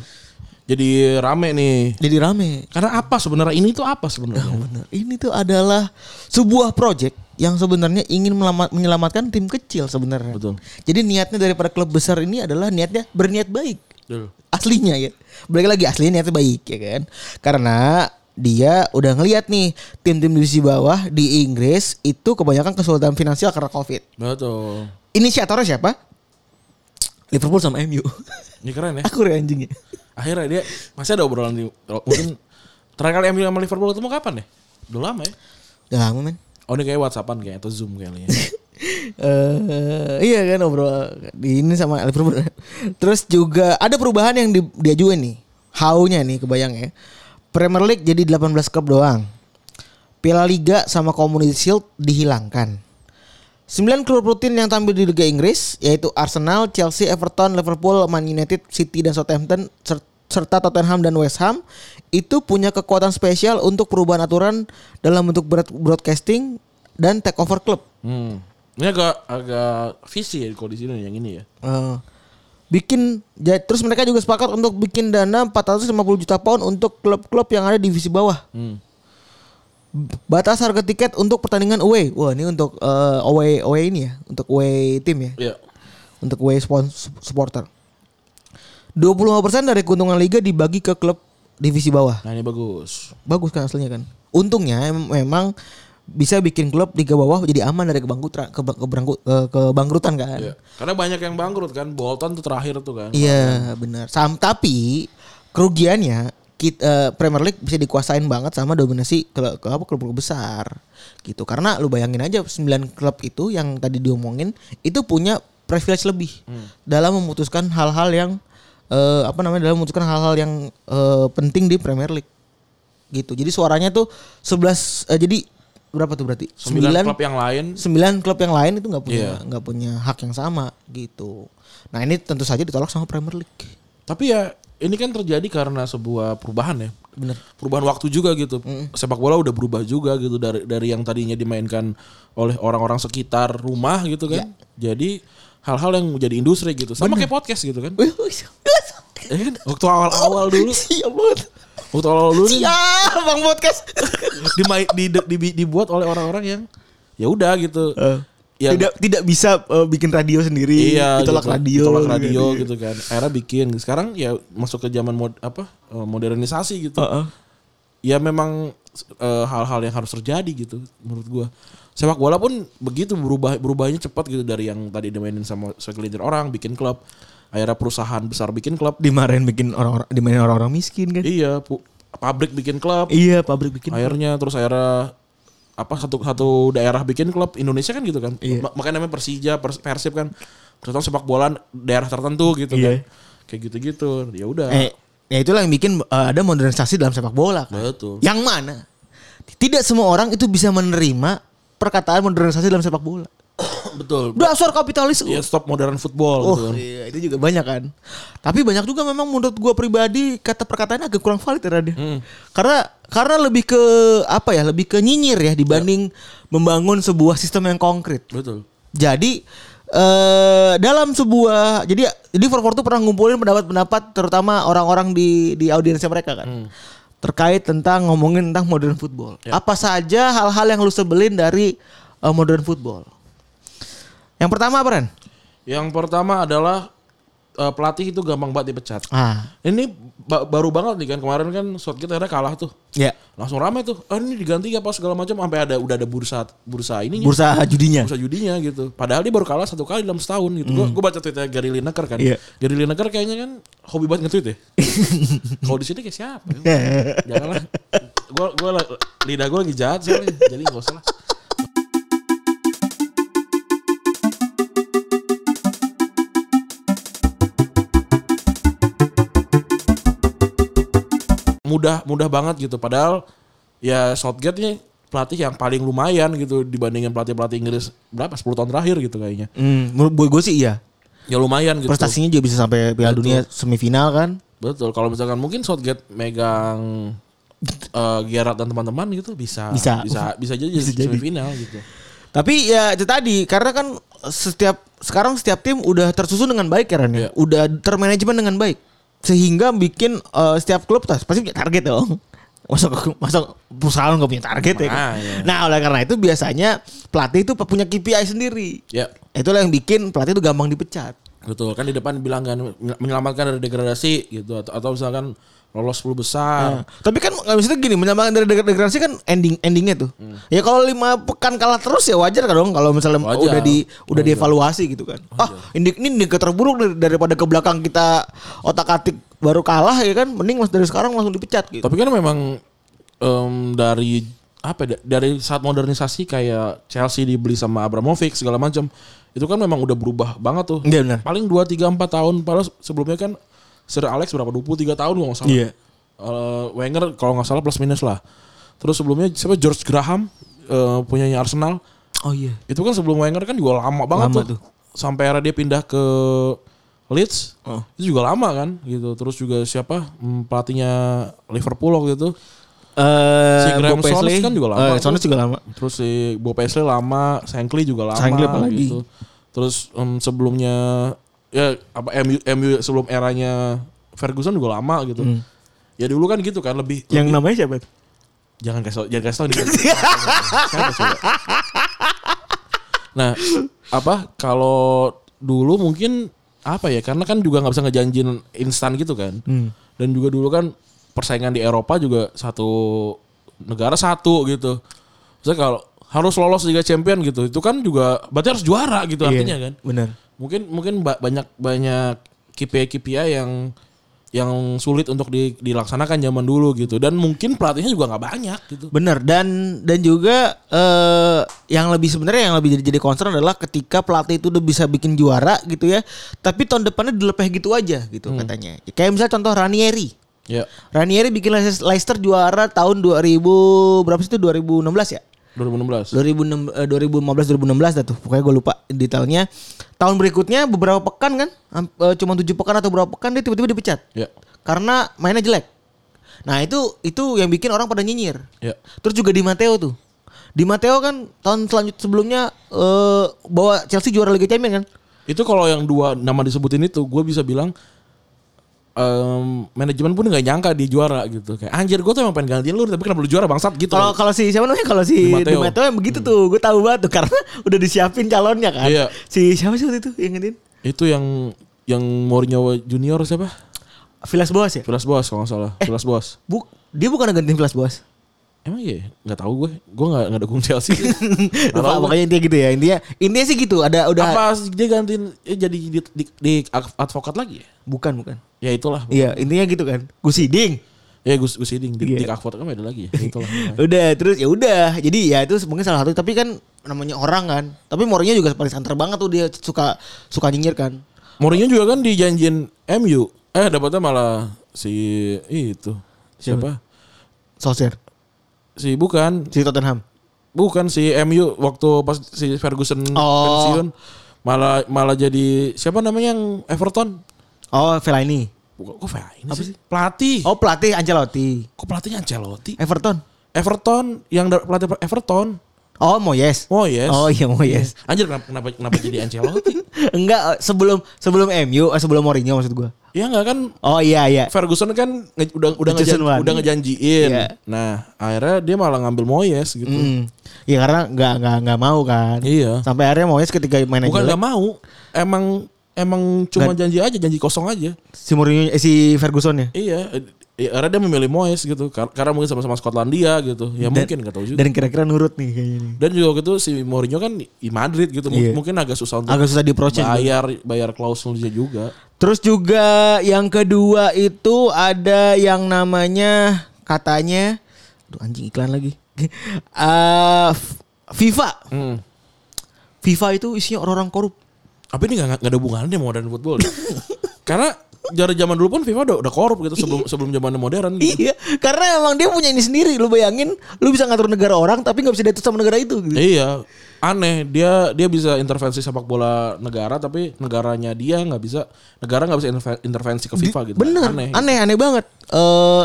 [SPEAKER 2] Jadi rame nih.
[SPEAKER 3] Jadi rame.
[SPEAKER 2] Karena apa sebenarnya ini tuh apa sebenarnya?
[SPEAKER 3] Ya Bener. Ini tuh adalah sebuah project yang sebenarnya ingin melama- menyelamatkan tim kecil sebenarnya.
[SPEAKER 2] Betul.
[SPEAKER 3] Jadi niatnya daripada klub besar ini adalah niatnya berniat baik.
[SPEAKER 2] Betul.
[SPEAKER 3] aslinya ya. Balik lagi aslinya niatnya baik ya kan. Karena dia udah ngeliat nih tim-tim divisi bawah di Inggris itu kebanyakan kesulitan finansial karena COVID.
[SPEAKER 2] Betul.
[SPEAKER 3] Inisiatornya siapa? Liverpool sama MU.
[SPEAKER 2] Ini keren ya.
[SPEAKER 3] Aku re anjingnya.
[SPEAKER 2] Akhirnya dia masih ada obrolan di oh, mungkin terakhir kali MU sama Liverpool ketemu kapan deh? Udah lama ya.
[SPEAKER 3] Gak lama men.
[SPEAKER 2] Oh ini kayak WhatsAppan kayaknya atau Zoom kayaknya.
[SPEAKER 3] eh iya kan obrol di ini sama Liverpool. Terus juga ada perubahan yang di- diajuin nih. Haunya nih kebayang ya. Premier League jadi 18 klub doang. Piala Liga sama Community Shield dihilangkan. 9 klub rutin yang tampil di Liga Inggris yaitu Arsenal, Chelsea, Everton, Liverpool, Man United, City dan Southampton ser- serta Tottenham dan West Ham itu punya kekuatan spesial untuk perubahan aturan dalam bentuk broad- broadcasting dan take over klub.
[SPEAKER 2] Hmm. Ini agak agak visi ya kalau di sini yang ini ya.
[SPEAKER 3] Eh, bikin ja- terus mereka juga sepakat untuk bikin dana 450 juta pound untuk klub-klub yang ada di divisi bawah.
[SPEAKER 2] Hmm.
[SPEAKER 3] Batas harga tiket untuk pertandingan away. Wah, ini untuk eh, away away ini ya, untuk away tim ya,
[SPEAKER 2] Iya.
[SPEAKER 3] untuk away spon- supporter. 25% dari keuntungan liga dibagi ke klub divisi bawah.
[SPEAKER 2] Nah ini bagus.
[SPEAKER 3] Bagus kan aslinya kan. Untungnya em- memang bisa bikin klub liga bawah jadi aman dari kebangkrutan ke, kebangkrutan kan.
[SPEAKER 2] Iya. Karena banyak yang bangkrut kan. Bolton tuh terakhir tuh kan.
[SPEAKER 3] Iya benar. Sam tapi kerugiannya kit- eh, Premier League bisa dikuasain banget sama dominasi klub ke apa klub-klub besar gitu. Karena lu bayangin aja 9 klub itu yang tadi diomongin itu punya privilege lebih
[SPEAKER 2] Hmm.
[SPEAKER 3] dalam memutuskan hal-hal yang eh, apa namanya dalam memutuskan hal-hal yang eh, penting di Premier League gitu. Jadi suaranya tuh 11 eh, jadi berapa tuh berarti?
[SPEAKER 2] Sembilan
[SPEAKER 3] Sembilan-
[SPEAKER 2] klub yang lain.
[SPEAKER 3] sembilan klub yang lain itu nggak punya
[SPEAKER 2] Iya.
[SPEAKER 3] nggak punya hak yang sama gitu. Nah ini tentu saja ditolak sama Premier League.
[SPEAKER 2] Tapi ya ini kan terjadi karena sebuah perubahan ya.
[SPEAKER 3] Bener.
[SPEAKER 2] Perubahan waktu juga gitu. Sepak bola udah berubah juga gitu dari dari yang tadinya dimainkan oleh orang-orang sekitar rumah gitu kan.
[SPEAKER 3] Ya.
[SPEAKER 2] Jadi hal-hal yang menjadi industri gitu. Sama kayak podcast gitu kan. Ya kan? Waktu awal-awal dulu,
[SPEAKER 3] Siap banget.
[SPEAKER 2] waktu awal-awal dulu nih,
[SPEAKER 3] Siap bang podcast.
[SPEAKER 2] dimai- di, di, di- dibuat oleh orang-orang yang ya udah gitu.
[SPEAKER 3] Eh.
[SPEAKER 2] Yang-
[SPEAKER 3] tidak tidak bisa eh, bikin radio sendiri. ditolak
[SPEAKER 2] gitu.
[SPEAKER 3] radio. iya.
[SPEAKER 2] ditolak radio gitu kan akhirnya bikin sekarang ya masuk ke zaman mod apa eh, modernisasi gitu
[SPEAKER 3] Heeh.
[SPEAKER 2] ya memang eh, hal-hal yang harus terjadi gitu menurut gua sepak bola pun begitu berubah berubahnya cepat gitu dari yang tadi dimainin sama sekelintir orang bikin klub akhirnya perusahaan besar bikin klub
[SPEAKER 3] Dimarahin bikin orang-orang dimarahin orang-orang miskin kan.
[SPEAKER 2] iya pu- pabrik bikin klub
[SPEAKER 3] Iya pabrik bikin.
[SPEAKER 2] akhirnya terus akhirnya apa satu satu daerah bikin klub Indonesia kan gitu kan
[SPEAKER 3] Iya.
[SPEAKER 2] Ma- makanya namanya Persija Pers- Persib kan terutama sepak bola daerah tertentu gitu kan
[SPEAKER 3] Iya.
[SPEAKER 2] kayak gitu-gitu ya udah
[SPEAKER 3] Eh ya itulah yang bikin eh, ada modernisasi dalam sepak bola kan.
[SPEAKER 2] betul
[SPEAKER 3] Yang mana? Tidak semua orang itu bisa menerima perkataan modernisasi dalam sepak bola.
[SPEAKER 2] betul
[SPEAKER 3] Dasar kapitalis.
[SPEAKER 2] ya stop modern football
[SPEAKER 3] Oh
[SPEAKER 2] gitu kan.
[SPEAKER 3] iya itu juga banyak kan. Tapi banyak juga memang menurut gua pribadi kata perkataan agak kurang valid ya Raden. Karena karena lebih ke apa ya lebih ke nyinyir ya dibanding membangun sebuah sistem yang konkret.
[SPEAKER 2] betul
[SPEAKER 3] Jadi eh dalam sebuah jadi jadi Forward tuh pernah ngumpulin pendapat-pendapat terutama orang-orang di di audiensnya mereka kan. Terkait tentang ngomongin tentang modern football. Apa saja hal-hal yang lu sebelin dari eh, modern football? Yang pertama apa Ren?
[SPEAKER 2] yang pertama adalah eh, pelatih itu gampang banget dipecat.
[SPEAKER 3] Ah,
[SPEAKER 2] Ini ba- baru banget nih kan kemarin kan Southgate akhirnya kalah tuh.
[SPEAKER 3] ya.
[SPEAKER 2] Langsung rame tuh. Ah, ini diganti apa segala macam sampai ada udah ada bursa bursa ininya.
[SPEAKER 3] Bursa judinya. Hmm.
[SPEAKER 2] Bursa judinya gitu. Padahal dia baru kalah satu kali dalam setahun gitu. Gue baca tweetnya Gary Lineker kan.
[SPEAKER 3] Iya.
[SPEAKER 2] Gary Lineker kayaknya kan hobi banget nge-tweet ya. Kalau di sini kayak siapa?
[SPEAKER 3] Iya,
[SPEAKER 2] ya? Janganlah. Gue gua la- lidah gue lagi jahat soalnya. Jadi gak usah lah. mudah mudah banget gitu padahal ya Southgate nih pelatih yang paling lumayan gitu dibandingin pelatih-pelatih Inggris berapa 10 tahun terakhir gitu kayaknya
[SPEAKER 3] Hmm, menurut gue, gue sih iya.
[SPEAKER 2] ya lumayan gitu
[SPEAKER 3] Prestasinya juga bisa sampai Piala Dunia semifinal kan?
[SPEAKER 2] betul kalau misalkan mungkin Southgate megang eh Gerrard dan teman-teman gitu bisa
[SPEAKER 3] Bisa.
[SPEAKER 2] bisa bisa jadi
[SPEAKER 3] jadi.
[SPEAKER 2] semifinal gitu
[SPEAKER 3] Tapi ya itu tadi karena kan setiap sekarang setiap tim udah tersusun dengan baik ya Ran,
[SPEAKER 2] Iya.
[SPEAKER 3] ya. Udah termanajemen dengan baik. Sehingga bikin eh, setiap klub tas- pasti punya target dong. Masuk masuk perusahaan nggak punya target ya. kan?
[SPEAKER 2] Makanya.
[SPEAKER 3] Nah, oleh karena itu biasanya pelatih itu punya KPI sendiri.
[SPEAKER 2] ya
[SPEAKER 3] Itulah yang bikin pelatih itu gampang dipecat.
[SPEAKER 2] betul kan di depan bilang kan menyelamatkan dari degradasi gitu atau, atau misalkan lolos 10
[SPEAKER 3] Nah,
[SPEAKER 2] besar
[SPEAKER 3] Tapi kan nggak bisa gini menyamakan dari deg- degradasi kan ending endingnya tuh. Ya kalau lima pekan kalah terus ya wajar kan dong kalau misalnya
[SPEAKER 2] Wajar.
[SPEAKER 3] udah di udah dievaluasi gitu kan. Ah ini ini indikator terburuk dari- daripada ke belakang kita otak atik baru kalah ya kan mending mas dari sekarang langsung dipecat gitu.
[SPEAKER 2] tapi kan memang em, dari apa ya, dari saat modernisasi kayak Chelsea dibeli sama Abramovich segala macam itu kan memang udah berubah banget tuh
[SPEAKER 3] Iya benar.
[SPEAKER 2] paling 2 3 4 tahun padahal sebelumnya kan Sir Alex berapa 23 tahun kalau nggak salah.
[SPEAKER 3] Iya.
[SPEAKER 2] Eh, Wenger kalau nggak salah plus minus lah. Terus sebelumnya siapa George Graham eh, punyanya Arsenal
[SPEAKER 3] Oh iya.
[SPEAKER 2] itu kan sebelum Wenger kan juga lama banget
[SPEAKER 3] Lama tuh.
[SPEAKER 2] tuh. Sampai era dia pindah ke Leeds
[SPEAKER 3] Oh.
[SPEAKER 2] itu juga lama kan gitu. Terus juga siapa hmm, pelatihnya Liverpool waktu itu.
[SPEAKER 3] Eh
[SPEAKER 2] Si Graham Bob Paisley. Souness kan juga lama
[SPEAKER 3] Eh,
[SPEAKER 2] tuh.
[SPEAKER 3] Souness juga lama.
[SPEAKER 2] Terus si Bob Paisley lama, Shankly juga lama gitu.
[SPEAKER 3] Shankly apalagi.
[SPEAKER 2] Terus em, sebelumnya ya apa MU, MU sebelum eranya Ferguson juga lama gitu. Ya dulu kan gitu kan lebih
[SPEAKER 3] Hmm. Yang
[SPEAKER 2] lebih-
[SPEAKER 3] namanya siapa?
[SPEAKER 2] jangan kasih tau- jangan kasih tahu nih. Siapa coba? Nah, apa kalau dulu mungkin apa ya? Karena kan juga nggak bisa ngejanjin instan gitu kan. Dan juga dulu kan persaingan di Eropa juga satu negara satu gitu. Misalnya kalau harus lolos Liga Champion gitu, itu kan juga berarti harus juara
[SPEAKER 3] Iya.
[SPEAKER 2] gitu artinya kan
[SPEAKER 3] Benar.
[SPEAKER 2] mungkin mungkin ba- banyak banyak KPI KPI yang yang sulit untuk di- dilaksanakan zaman dulu gitu dan mungkin pelatihnya juga nggak banyak gitu
[SPEAKER 3] Bener dan dan juga eh yang lebih sebenarnya yang lebih jadi jadi concern adalah ketika pelatih itu udah bisa bikin juara gitu ya, tapi tahun depannya dilepeh gitu aja gitu katanya. Kayak misalnya contoh Ranieri.
[SPEAKER 2] ya
[SPEAKER 3] Ranieri bikin Leices- Leicester juara tahun 2000 berapa sih itu 2016 ya?
[SPEAKER 2] 2016
[SPEAKER 3] 2006, eh, 2015 2016 dah tuh. Pokoknya gue lupa detailnya. Tahun berikutnya beberapa pekan kan am- eh, cuma tujuh pekan atau berapa pekan dia tiba-tiba dipecat.
[SPEAKER 2] ya
[SPEAKER 3] Karena mainnya jelek. Nah, itu itu yang bikin orang pada nyinyir.
[SPEAKER 2] ya
[SPEAKER 3] Terus juga di Matteo tuh. Di Matteo kan tahun selanjut sebelumnya eh bawa Chelsea juara Liga Champions kan?
[SPEAKER 2] itu kalau yang dua nama disebutin itu gue bisa bilang em, manajemen pun nggak nyangka dia juara gitu kayak anjir gue tuh emang pengen gantiin lu tapi kenapa lu juara bangsat gitu
[SPEAKER 3] Kalau kalau si siapa namanya? Kalau si Di
[SPEAKER 2] Di
[SPEAKER 3] Matteo,
[SPEAKER 2] Matteo.
[SPEAKER 3] yang begitu tuh, gue tahu banget tuh karena udah disiapin calonnya kan.
[SPEAKER 2] Iya.
[SPEAKER 3] Si siapa sih waktu itu yang ngetin?
[SPEAKER 2] itu yang yang Mourinho junior siapa
[SPEAKER 3] Vilas Boas ya?
[SPEAKER 2] Vilas Boas kalau nggak salah Vilas Boas
[SPEAKER 3] Bu, dia bukan gantiin Vilas Boas.
[SPEAKER 2] emang iya ya? nggak tahu gue gue nggak nggak dukung Chelsea Nggak
[SPEAKER 3] Lupa,
[SPEAKER 2] tahu gue.
[SPEAKER 3] pokoknya intinya gitu ya. Intinya intinya sih gitu, ada udah
[SPEAKER 2] apa dia gantiin eh, jadi di, di, di advokat lagi ya?
[SPEAKER 3] bukan bukan.
[SPEAKER 2] Ya itulah.
[SPEAKER 3] Iya, intinya gitu kan. Gusiding.
[SPEAKER 2] Ya Gus Gus Iding di,
[SPEAKER 3] Iya.
[SPEAKER 2] di advokat kan ada lagi ya. Itulah.
[SPEAKER 3] udah terus ya udah jadi ya itu mungkin salah satu tapi kan namanya orang kan tapi Mourinho juga paling santer banget tuh dia suka suka nyinyir kan
[SPEAKER 2] Mourinho juga kan dijanjin MU. Eh dapatnya malah si itu siapa?
[SPEAKER 3] Solskjaer
[SPEAKER 2] Si bukan
[SPEAKER 3] si Tottenham
[SPEAKER 2] bukan si MU waktu pas si Ferguson
[SPEAKER 3] Oh.
[SPEAKER 2] pensiun malah malah jadi siapa namanya yang Everton?
[SPEAKER 3] oh Fellaini
[SPEAKER 2] Bukan kok Vela ini sih? Pelatih.
[SPEAKER 3] oh pelatih Ancelotti
[SPEAKER 2] Kok pelatihnya Ancelotti?
[SPEAKER 3] Everton
[SPEAKER 2] Everton yang da- pelatih Everton.
[SPEAKER 3] oh Moyes
[SPEAKER 2] Oh yes.
[SPEAKER 3] oh iya Moyes
[SPEAKER 2] Anjir kenapa kenapa, kenapa jadi Ancelotti?
[SPEAKER 3] enggak eh, sebelum sebelum MU eh, sebelum Mourinho maksud gua
[SPEAKER 2] ya enggak kan
[SPEAKER 3] oh iya iya
[SPEAKER 2] Ferguson kan nge- udah udah
[SPEAKER 3] The chosen
[SPEAKER 2] ngejan-
[SPEAKER 3] one.
[SPEAKER 2] udah ngejanjiin.
[SPEAKER 3] Iya.
[SPEAKER 2] Nah, akhirnya dia malah ngambil Moyes gitu.
[SPEAKER 3] Hmm. ya karena nggak nggak nggak mau kan
[SPEAKER 2] Iya.
[SPEAKER 3] sampai akhirnya Moyes ketika main
[SPEAKER 2] Bukan
[SPEAKER 3] Nah, jelek
[SPEAKER 2] nggak mau, emang emang cuma janji aja, janji kosong aja.
[SPEAKER 3] Si Mourinho eh, si Ferguson ya.
[SPEAKER 2] Iya, eh, ya, karena dia memilih Moyes gitu. Kar- Karena mungkin sama-sama Skotlandia gitu. Ya mungkin nggak tahu juga. Dan,
[SPEAKER 3] Dan kira-kira nurut nih kayaknya nih.
[SPEAKER 2] juga gitu si Mourinho kan di Madrid gitu. M-
[SPEAKER 3] Iya.
[SPEAKER 2] Mungkin agak susah untuk
[SPEAKER 3] Agak susah diproses.
[SPEAKER 2] bayar bayar klausulnya juga.
[SPEAKER 3] Terus juga yang kedua itu ada yang namanya katanya aduh anjing iklan lagi. Eh FIFA.
[SPEAKER 2] Hmm.
[SPEAKER 3] FIFA itu isinya orang-orang korup.
[SPEAKER 2] Tapi ini nggak nggak ada hubungannya modern football. karena dari zaman dulu pun FIFA udah, udah korup gitu sebelum sebelum zaman modern. Gitu.
[SPEAKER 3] Iya, karena emang dia punya ini sendiri. Lu bayangin, lu bisa ngatur negara orang tapi nggak bisa diatur sama negara itu. Gitu.
[SPEAKER 2] Iya, aneh dia dia bisa intervensi sepak bola negara tapi negaranya dia nggak bisa negara nggak bisa interve- intervensi ke FIFA gitu.
[SPEAKER 3] Bener, aneh,
[SPEAKER 2] aneh.
[SPEAKER 3] aneh, banget. Eh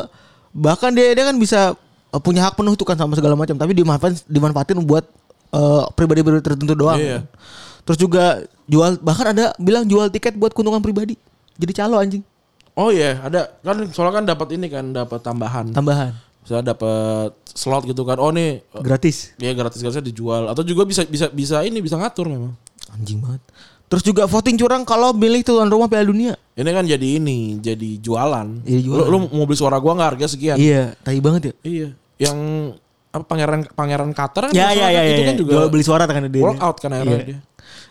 [SPEAKER 3] bahkan dia dia kan bisa eh, punya hak penuh tuh kan sama segala macam, tapi dimanfaatin dimanfaatin buat eh, pribadi-pribadi tertentu doang.
[SPEAKER 2] Iya.
[SPEAKER 3] Terus juga jual bahkan ada bilang jual tiket buat keuntungan pribadi. Jadi calo anjing
[SPEAKER 2] Oh iya, ada kan soalnya kan dapat ini kan dapat tambahan.
[SPEAKER 3] tambahan
[SPEAKER 2] Misalnya dapat slot gitu kan. Oh nih eh,
[SPEAKER 3] gratis.
[SPEAKER 2] dia gratis-gratis dijual atau juga bisa bisa bisa ini bisa ngatur memang.
[SPEAKER 3] Anjing banget. Terus juga voting curang kalau milih tuan rumah Piala Dunia.
[SPEAKER 2] Ini kan jadi ini, jadi jualan.
[SPEAKER 3] Iya, jualan.
[SPEAKER 2] Lu, lu mau beli suara gua nggak harga sekian.
[SPEAKER 3] Iya, tai banget ya.
[SPEAKER 2] Iya. Yang apa pangeran pangeran Qatar kan
[SPEAKER 3] Ya ya
[SPEAKER 2] masalah kan,
[SPEAKER 3] ya
[SPEAKER 2] itu
[SPEAKER 3] ya. ya.
[SPEAKER 2] kan juga
[SPEAKER 3] Jual beli suara kan dia.
[SPEAKER 2] workout kan akhirnya
[SPEAKER 3] Iya.
[SPEAKER 2] dia.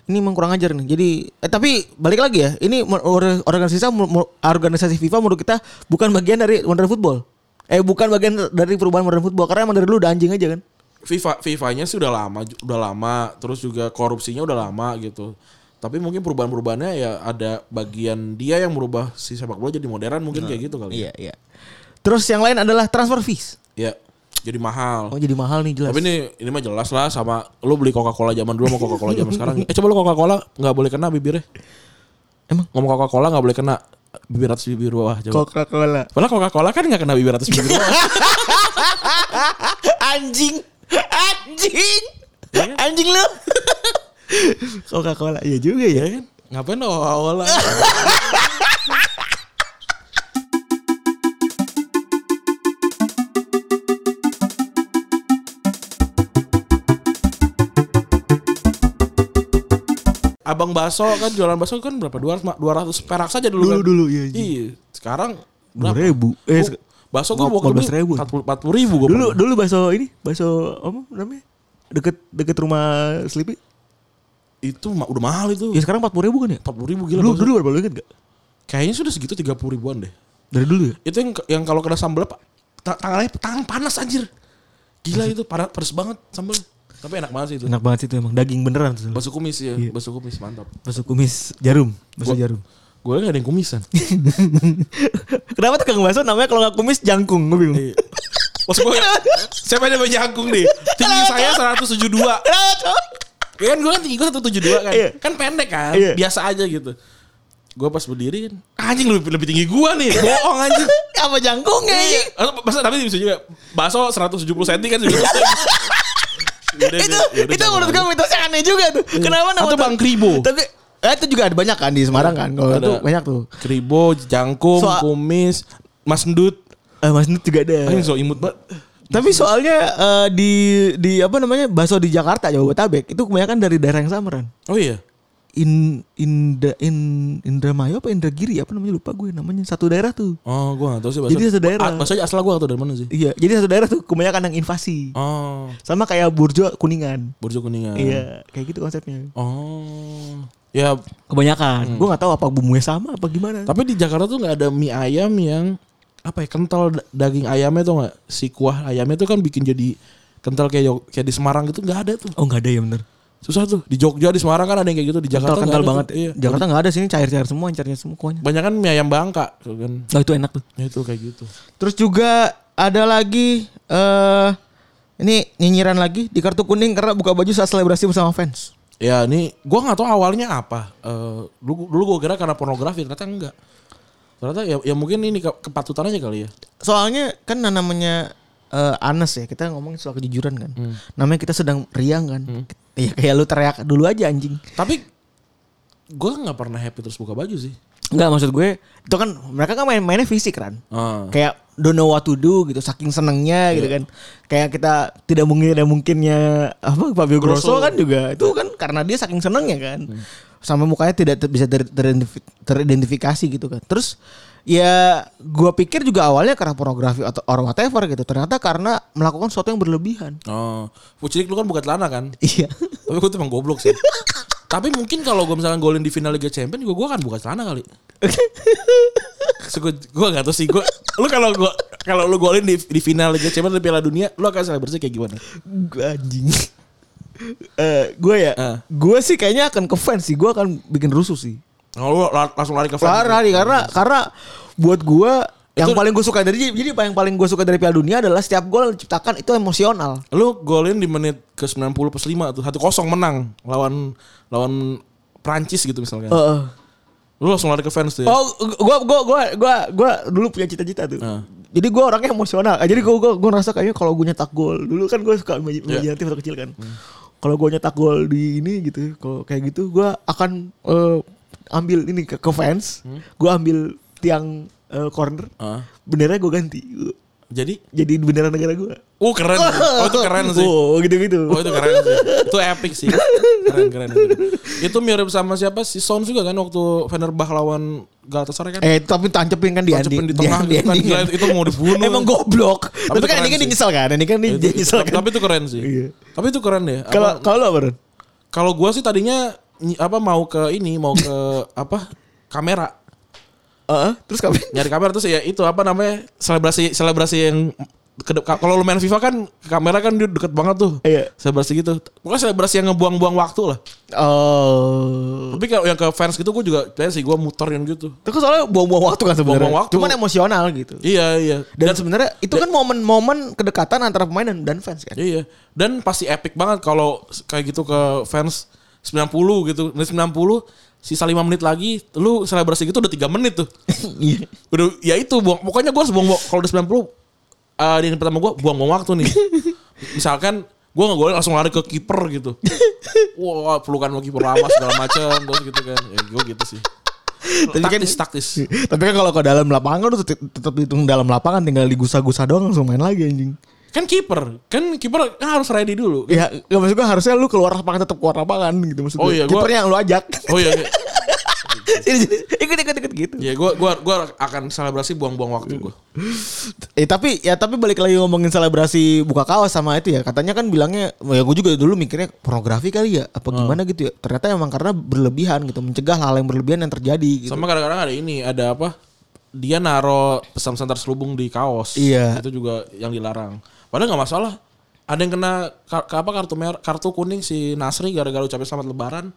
[SPEAKER 3] Ini emang kurang ajar nih. Jadi eh, tapi balik lagi ya. Ini men- or- organisasi mu- mu- organisasi FIFA menurut kita bukan bagian dari modern football. Eh bukan bagian dari perubahan modern football karena emang dari dulu udah anjing aja kan.
[SPEAKER 2] FIFA FIFA-nya sih udah lama ju- udah lama terus juga korupsinya udah lama gitu. Tapi mungkin perubahan-perubahannya ya ada bagian dia yang merubah si sepak bola jadi modern mungkin kayak gitu kali.
[SPEAKER 3] Iya iya. Terus yang lain adalah transfer fees.
[SPEAKER 2] Ya, jadi mahal.
[SPEAKER 3] Oh jadi mahal nih jelas.
[SPEAKER 2] Tapi ini ini mah jelas lah sama lu beli Coca-Cola zaman dulu sama Coca-Cola zaman sekarang. Eh coba lu Coca-Cola nggak boleh kena bibirnya.
[SPEAKER 3] Emang?
[SPEAKER 2] ngomong Coca-Cola nggak bollah kena bibir atas bibir bawah coba.
[SPEAKER 3] Coca-Cola.
[SPEAKER 2] Padahal Coca-Cola kan nggak kena bibir atas bibir bawah.
[SPEAKER 3] anjing. Anjing. Anjing lu. Coca-Cola. Iya juga ya kan.
[SPEAKER 2] Ngapain awal-awal Abang Baso kan jualan baso kan berapa? 200 200 perak saja dulu. kan?
[SPEAKER 3] Dulu-dulu, iya, iya.
[SPEAKER 2] Iya. Sekarang
[SPEAKER 3] Dua
[SPEAKER 2] berapa?
[SPEAKER 3] ribu. Eh,
[SPEAKER 2] Gua- baso gua waktu
[SPEAKER 3] 14.000.
[SPEAKER 2] dulu 40 ribu gua.
[SPEAKER 3] dulu
[SPEAKER 2] pernah.
[SPEAKER 3] dulu bakso ini bakso apa namanya deket deket rumah Sleepy
[SPEAKER 2] itu ma- udah mahal itu.
[SPEAKER 3] ya sekarang empat puluh ribu kan ya
[SPEAKER 2] 40 ribu gila.
[SPEAKER 3] dulu
[SPEAKER 2] bakso.
[SPEAKER 3] dulu berapa lu inget gak
[SPEAKER 2] Kayaknya sudah segitu 30 ribuan deh.
[SPEAKER 3] dari dulu ya
[SPEAKER 2] Itu yang yang kalau kena sambel apa? ta- Tangannya tangan panas anjir. Gila itu panas pedes banget sambel. Tapi enak banget sih itu.
[SPEAKER 3] enak banget sih itu emang daging beneran tuh
[SPEAKER 2] Bakso kumis ya,
[SPEAKER 3] Iya.
[SPEAKER 2] bakso kumis mantap.
[SPEAKER 3] bakso kumis jarum bakso
[SPEAKER 2] Gua-
[SPEAKER 3] jarum
[SPEAKER 2] Gue gak ada yang kumisan.
[SPEAKER 3] Iya. kenapa tukang bakso namanya kalau nggak kumis jangkung gue bingung
[SPEAKER 2] Iya. Maksud gue siapa yang namanya jangkung nih? Tinggi saya 172.
[SPEAKER 3] Kenapa, Eh, Cok?
[SPEAKER 2] Ya kan gue kan tinggi gue 172 kan.
[SPEAKER 3] Iya.
[SPEAKER 2] Kan pendek kan,
[SPEAKER 3] Iya.
[SPEAKER 2] biasa aja gitu. Gue pas berdiri kan, anjing lebih, lebih tinggi gue nih. Bohong anjing.
[SPEAKER 3] apa jangkungnya
[SPEAKER 2] Iya.
[SPEAKER 3] anjing?
[SPEAKER 2] Atau Masa tapi bisa juga bakso 170 cm kan juga. Yaudah,
[SPEAKER 3] itu
[SPEAKER 2] yaudah,
[SPEAKER 3] itu
[SPEAKER 2] jangan.
[SPEAKER 3] menurut gue mitosnya aneh juga tuh kenapa nama
[SPEAKER 2] Atau
[SPEAKER 3] tuh-
[SPEAKER 2] Bang Kribo.
[SPEAKER 3] tapi eh, itu juga ada banyak kan di Semarang kan kalau
[SPEAKER 2] Ada.
[SPEAKER 3] itu banyak tuh
[SPEAKER 2] Kribo, jangkung,
[SPEAKER 3] Soal-
[SPEAKER 2] kumis, mas endut.
[SPEAKER 3] Eh, Mas Nut juga ada
[SPEAKER 2] Anjing so imut banget.
[SPEAKER 3] Tapi soalnya eh, di di apa namanya bakso di Jakarta Jabodetabek itu kebanyakan dari daerah yang samaran.
[SPEAKER 2] Oh iya.
[SPEAKER 3] In Indra in Indramayu apa Indragiri apa namanya lupa gue namanya satu daerah tuh.
[SPEAKER 2] Oh, gua gak tahu sih
[SPEAKER 3] Jadi satu daerah.
[SPEAKER 2] Bahasa asal gua gak tahu dari mana sih.
[SPEAKER 3] Iya, jadi satu daerah tuh kebanyakan yang invasi.
[SPEAKER 2] Oh,
[SPEAKER 3] Sama kayak Burjo Kuningan.
[SPEAKER 2] Borjo Kuningan.
[SPEAKER 3] Iya, kayak gitu konsepnya.
[SPEAKER 2] Oh. Ya,
[SPEAKER 3] Kebanyakan. Gue nggak tahu apa bumbunya sama apa gimana.
[SPEAKER 2] tapi di Jakarta tuh nggak ada mie ayam yang apa ya kental da- daging ayamnya tuh nggak si kuah ayamnya tuh kan bikin jadi kental kayak Yog- kayak di Semarang gitu nggak ada tuh
[SPEAKER 3] oh nggak ada ya bener.
[SPEAKER 2] susah tuh di Jogja di Semarang kan ada yang kayak gitu di Jakarta nggak
[SPEAKER 3] Kental kental
[SPEAKER 2] ada
[SPEAKER 3] banget.
[SPEAKER 2] tuh. iya.
[SPEAKER 3] Jakarta nggak ada sini cair-cair semua, cairnya semua kuahnya.
[SPEAKER 2] banyak kan mie ayam Bangka tuh kan
[SPEAKER 3] Nah itu enak tuh.
[SPEAKER 2] ya itu kayak gitu
[SPEAKER 3] Terus juga ada lagi eh ini nyinyiran lagi di kartu kuning karena buka baju saat selebrasi bersama fans.
[SPEAKER 2] ya ini gua nggak tahu awalnya apa Eh, dulu dulu gua kira karena pornografi ternyata enggak ternyata ya, ya mungkin ini ke- kepatutan aja kali ya
[SPEAKER 3] Soalnya kan yang namanya eh Anes ya, kita ngomongin soal kejujuran kan. Namanya kita sedang riang kan. Ya kayak lu teriak dulu aja anjing.
[SPEAKER 2] tapi gua nggak pernah happy terus buka baju sih
[SPEAKER 3] Enggak maksud gue itu kan mereka kan main-mainnya fisik kan.
[SPEAKER 2] Ah.
[SPEAKER 3] Kayak don't know what to do gitu, saking senengnya gitu kan. Kayak kita tidak mungkin tidak mungkinnya apa Fabio Grosso,
[SPEAKER 2] Grosso.
[SPEAKER 3] kan juga itu kan karena dia saking senengnya kan. sampai mukanya tidak ter- bisa ter- teridentifi- teridentifikasi gitu kan. Terus ya gua pikir juga awalnya karena pornografi atau or whatever gitu. Ternyata karena melakukan sesuatu yang berlebihan.
[SPEAKER 2] Oh, Fucilik lu kan buka celana kan?
[SPEAKER 3] Iya.
[SPEAKER 2] Tapi gue tuh emang goblok sih. Tapi mungkin kalau gue misalnya golin di final Liga Champions juga gue akan buka celana kali. So, gue, gue gak tau sih gue. Lu kalau gue kalau lu golin di, di final Liga Champions atau Piala Dunia, lu akan selebrasi kayak gimana?
[SPEAKER 3] gue anjing. Eh, gue ya,
[SPEAKER 2] Ah.
[SPEAKER 3] gue sih kayaknya akan ke fans sih. Gue akan bikin rusuh sih.
[SPEAKER 2] Kalau lu la- langsung lari ke
[SPEAKER 3] Parah
[SPEAKER 2] fans.
[SPEAKER 3] nih karena karena buat gue yang
[SPEAKER 2] Itu-
[SPEAKER 3] paling gue suka dari jadi yang paling gue suka dari Piala Dunia adalah setiap gol yang diciptakan itu emosional.
[SPEAKER 2] Lu golin di menit ke 90 plus 5 tuh 1-0 menang lawan lawan Prancis gitu misalnya.
[SPEAKER 3] Heeh.
[SPEAKER 2] Lu langsung lari ke fans tuh ya.
[SPEAKER 3] Oh, gua gua gua gua gua dulu punya cita-cita tuh.
[SPEAKER 2] Nah.
[SPEAKER 3] Jadi gua orangnya emosional. Ah, Jadi gua gua, gua ngerasa kayaknya kalau gua nyetak gol dulu kan gua suka imaj- imajinatif waktu kecil kan. Kalau gua nyetak gol di ini gitu, kalau kayak gitu gua akan eh, ambil ini ke, ke fans. Gua ambil tiang eh, corner.
[SPEAKER 2] Ah.
[SPEAKER 3] Bendera gua ganti.
[SPEAKER 2] Jadi,
[SPEAKER 3] Jadi bendera negara gua.
[SPEAKER 2] oh keren. Oh itu keren sih.
[SPEAKER 3] Oh, gitu-gitu.
[SPEAKER 2] Oh itu keren sih. Itu epic sih. Keren keren. keren. Itu mirip sama siapa si Sons juga kan waktu Fenerbah lawan Galatasaray kan.
[SPEAKER 3] Eh tapi tancepin kan di
[SPEAKER 2] Tancepin di
[SPEAKER 3] ending.
[SPEAKER 2] tengah gitu kan.
[SPEAKER 3] endingan.
[SPEAKER 2] Gila, itu mau dibunuh.
[SPEAKER 3] Emang goblok. Tapi,
[SPEAKER 2] itu
[SPEAKER 3] kan
[SPEAKER 2] keren
[SPEAKER 3] endingnya
[SPEAKER 2] sih.
[SPEAKER 3] dia nyesel kan. Endingnya dia, dia
[SPEAKER 2] Itu-
[SPEAKER 3] nyesel
[SPEAKER 2] tapi,
[SPEAKER 3] kan.
[SPEAKER 2] tapi itu keren sih.
[SPEAKER 3] Iya.
[SPEAKER 2] Tapi itu keren ya. Apa-
[SPEAKER 3] Kalau kalau lo apa? Ren?
[SPEAKER 2] Kalau gua sih tadinya ny- apa mau ke ini mau ke apa kamera
[SPEAKER 3] Heeh, terus kapan?
[SPEAKER 2] nyari kamera terus ya itu apa namanya selebrasi selebrasi yang ke de- kalau lu main FIFA kan kamera kan dia deket banget tuh
[SPEAKER 3] Iya.
[SPEAKER 2] selebrasi gitu pokoknya selebrasi yang ngebuang-buang waktu lah
[SPEAKER 3] Oh.
[SPEAKER 2] tapi kalau yang ke fans gitu gue juga kayaknya sih gue muterin gitu
[SPEAKER 3] Terus soalnya buang-buang waktu kan sebenarnya.
[SPEAKER 2] Buang-buang waktu.
[SPEAKER 3] Cuman emosional gitu.
[SPEAKER 2] iya iya
[SPEAKER 3] Dan, sebenarnya itu kan momen-momen kedekatan antara pemain dan, dan fans kan.
[SPEAKER 2] Iya, dan pasti epic banget kalau kayak gitu ke fans 90 gitu. Menit 90 sisa 5 menit lagi lu selebrasi gitu udah 3 menit tuh.
[SPEAKER 3] Iya.
[SPEAKER 2] Udah ya itu buang pokoknya gua harus buang buang- kalau udah 90 eh di yang pertama gua buang-buang waktu nih. Misalkan gua nggak boleh langsung lari ke kiper gitu. Wah, pelukan sama kiper lama segala macam terus gitu kan. Ya gua gitu sih. Taktis taktis.
[SPEAKER 3] kan- Tapi kan kalau ke dalam lapangan tuh tetep tetep dihitung dalam lapangan tinggal digusa-gusa doang langsung main lagi anjing.
[SPEAKER 2] Kan kiper, kan kiper kan harus ready dulu.
[SPEAKER 3] Ya, gak maksud gua harusnya lu keluar lapangan tetap keluar lapangan gitu maksud
[SPEAKER 2] Oh
[SPEAKER 3] gua.
[SPEAKER 2] iya, gua-
[SPEAKER 3] Kipernya yang lu ajak.
[SPEAKER 2] Oh iya, iya.
[SPEAKER 3] Sini, sini. ikut ikut ikut gitu.
[SPEAKER 2] ya gua gua gua akan selebrasi buang-buang waktu gua.
[SPEAKER 3] Eh tapi ya tapi balik lagi ngomongin selebrasi buka kaos sama itu ya katanya kan bilangnya ya gue juga dulu mikirnya pornografi kali ya apa
[SPEAKER 2] Hmm.
[SPEAKER 3] gimana gitu ya ternyata emang karena berlebihan gitu mencegah hal yang berlebihan yang terjadi gitu.
[SPEAKER 2] Sama kadang-kadang ada ini, ada apa? Dia naro pesan-pesan terselubung di kaos.
[SPEAKER 3] Iya.
[SPEAKER 2] Itu juga yang dilarang. Padahal nggak masalah. Ada yang kena ka- ka- apa kartu mer kartu kuning si Nasri gara-gara ucapin selamat lebaran.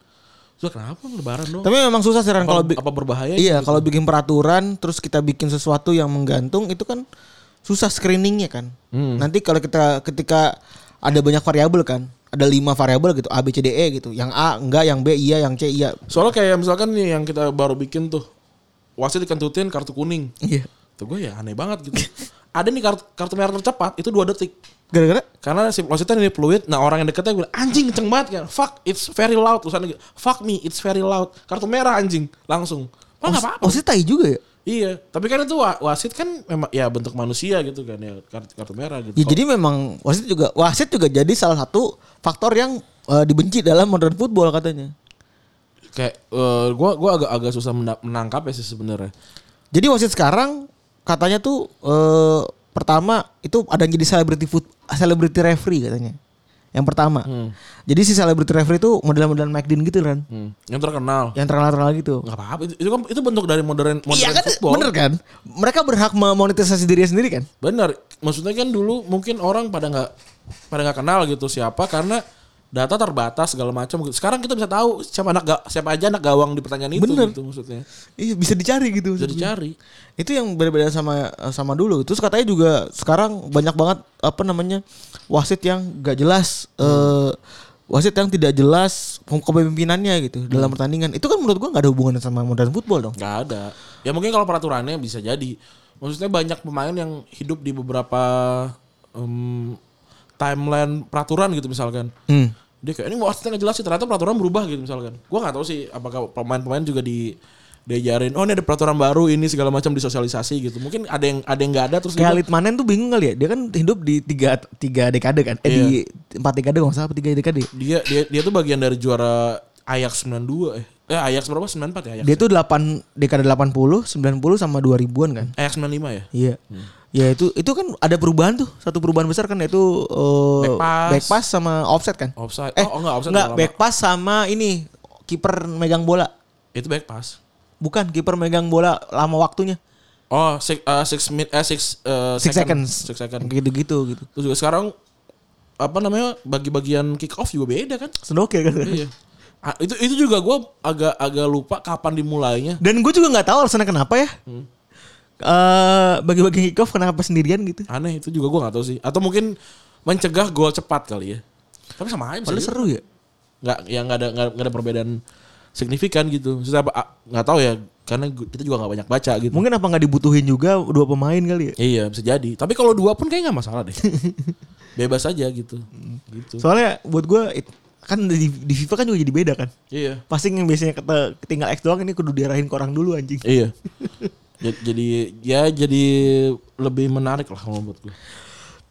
[SPEAKER 2] Sudah kenapa lebaran dong?
[SPEAKER 3] tapi memang susah sih Ran,
[SPEAKER 2] Apa,
[SPEAKER 3] kalau bi-
[SPEAKER 2] apa berbahaya? ya?
[SPEAKER 3] iya kalau bikin peraturan terus kita bikin sesuatu yang menggantung itu kan susah screeningnya kan. Nanti kalau kita ketika ada banyak variabel kan ada lima variabel gitu A B C D E gitu yang A enggak yang B iya yang C iya.
[SPEAKER 2] Soalnya kayak misalkan nih yang kita baru bikin tuh wasit dikentutin kartu kuning.
[SPEAKER 3] Iya.
[SPEAKER 2] Tuh gue ya aneh banget gitu. ada nih kartu, kartu merah tercepat itu dua detik.
[SPEAKER 3] Gara-gara
[SPEAKER 2] Karena si wasitnya ini fluid, nah orang yang deketnya bilang anjing kenceng banget kan. Fuck, it's very loud tulisannya. gitu. Fuck me, it's very loud. Kartu merah anjing langsung. Pak
[SPEAKER 3] Oh,
[SPEAKER 2] enggak apa-apa.
[SPEAKER 3] Maksudnya tai juga ya.
[SPEAKER 2] Iya, tapi kan itu wa- wasit kan memang ya bentuk manusia gitu kan ya kartu, kartu merah gitu.
[SPEAKER 3] Ya, jadi memang wasit juga wasit juga jadi salah satu faktor yang eh, dibenci dalam modern football katanya.
[SPEAKER 2] kayak eh, gua gua agak agak susah mena- menangkap ya sih sebenarnya.
[SPEAKER 3] Jadi wasit sekarang katanya tuh eh, pertama itu ada yang jadi celebrity food celebrity referee katanya. Yang pertama. Jadi si celebrity referee itu model-model Mike Dean gitu kan.
[SPEAKER 2] Hmm. Yang terkenal.
[SPEAKER 3] Yang terkenal-terkenal gitu.
[SPEAKER 2] Enggak apa-apa itu, itu kan itu bentuk dari modern modern
[SPEAKER 3] Iya kan
[SPEAKER 2] football.
[SPEAKER 3] bener kan? Mereka berhak memonetisasi dirinya sendiri kan?
[SPEAKER 2] Bener, maksudnya kan dulu mungkin orang pada nggak pada nggak kenal gitu siapa karena data terbatas segala macam. gitu. Sekarang kita bisa tahu siapa anak ga- siapa aja anak gawang di pertanyaan itu
[SPEAKER 3] Bener.
[SPEAKER 2] gitu maksudnya.
[SPEAKER 3] Iya bisa dicari gitu.
[SPEAKER 2] Bisa dicari.
[SPEAKER 3] itu yang berbeda sama eh, sama dulu terus katanya juga sekarang banyak banget apa namanya wasit yang gak jelas eh, wasit yang tidak jelas pem- kepemimpinannya gitu dalam pertandingan itu kan menurut gua nggak ada hubungan sama modern football dong
[SPEAKER 2] Nggak ada. Ya mungkin kalau peraturannya bisa jadi. Maksudnya banyak pemain yang hidup di beberapa em, timeline peraturan gitu misalkan.
[SPEAKER 3] Hmm.
[SPEAKER 2] Dia kayak ini wasitnya nggak jelas sih ternyata peraturan berubah gitu misalkan. Gua nggak tahu sih apakah pemain-pemain juga di diajarin oh ini ada peraturan baru ini segala macam disosialisasi gitu. Mungkin ada yang ada yang nggak ada terus
[SPEAKER 3] kayak Litmanen tuh bingung kali ya dia kan hidup di tiga Iya. tiga dekade kan eh di empat dekade nggak salah apa tiga dekade
[SPEAKER 2] dia dia dia tuh bagian dari juara Ajax 92 eh. Eh Ajax berapa? 94 ya Ajax.
[SPEAKER 3] Dia tuh 8 dekade 80, 90 sama 2000-an kan.
[SPEAKER 2] Ajax 95 ya?
[SPEAKER 3] Iya. Ya itu itu kan ada perubahan tuh. Satu perubahan besar kan yaitu
[SPEAKER 2] Back
[SPEAKER 3] eh,
[SPEAKER 2] pass.
[SPEAKER 3] back pass sama offset kan?
[SPEAKER 2] Offside.
[SPEAKER 3] Eh,
[SPEAKER 2] oh, enggak offside
[SPEAKER 3] Enggak,
[SPEAKER 2] udah lama.
[SPEAKER 3] back pass sama ini kiper megang bola.
[SPEAKER 2] Itu back pass.
[SPEAKER 3] Bukan kiper megang bola lama waktunya.
[SPEAKER 2] Oh, six, uh, six min, eh, six, uh,
[SPEAKER 3] 6
[SPEAKER 2] second.
[SPEAKER 3] seconds.
[SPEAKER 2] Six second.
[SPEAKER 3] Gitu-gitu gitu.
[SPEAKER 2] Terus juga sekarang apa namanya bagi-bagian kick off juga beda kan?
[SPEAKER 3] Senoke kan.
[SPEAKER 2] iya. Ah, itu itu juga gue agak agak lupa kapan dimulainya.
[SPEAKER 3] Dan gue juga nggak tahu alasannya kenapa ya. Eh bagi-bagi kick off kenapa sendirian gitu.
[SPEAKER 2] Aneh itu juga gue nggak tahu sih. Atau mungkin mencegah gol cepat kali ya. Tapi sama aja. bisa
[SPEAKER 3] Padahal
[SPEAKER 2] juga.
[SPEAKER 3] seru ya.
[SPEAKER 2] nggak yang nggak ada nggak nggak ada perbedaan signifikan gitu. Maksudnya apa? ah, Nggak tahu ya karena gu- kita juga nggak banyak baca gitu.
[SPEAKER 3] Mungkin apa nggak dibutuhin juga dua pemain kali ya.
[SPEAKER 2] Iya bisa jadi. Tapi kalau dua pun kayak nggak masalah deh. Bebas aja gitu. Gitu.
[SPEAKER 3] Soalnya buat gue kan di, di FIFA kan juga jadi beda kan.
[SPEAKER 2] Iya.
[SPEAKER 3] Passing yang biasanya kata tinggal X doang ini kudu diarahin ke orang dulu anjing.
[SPEAKER 2] Iya. Ja- jadi ya jadi lebih menarik lah kalau menurut gue.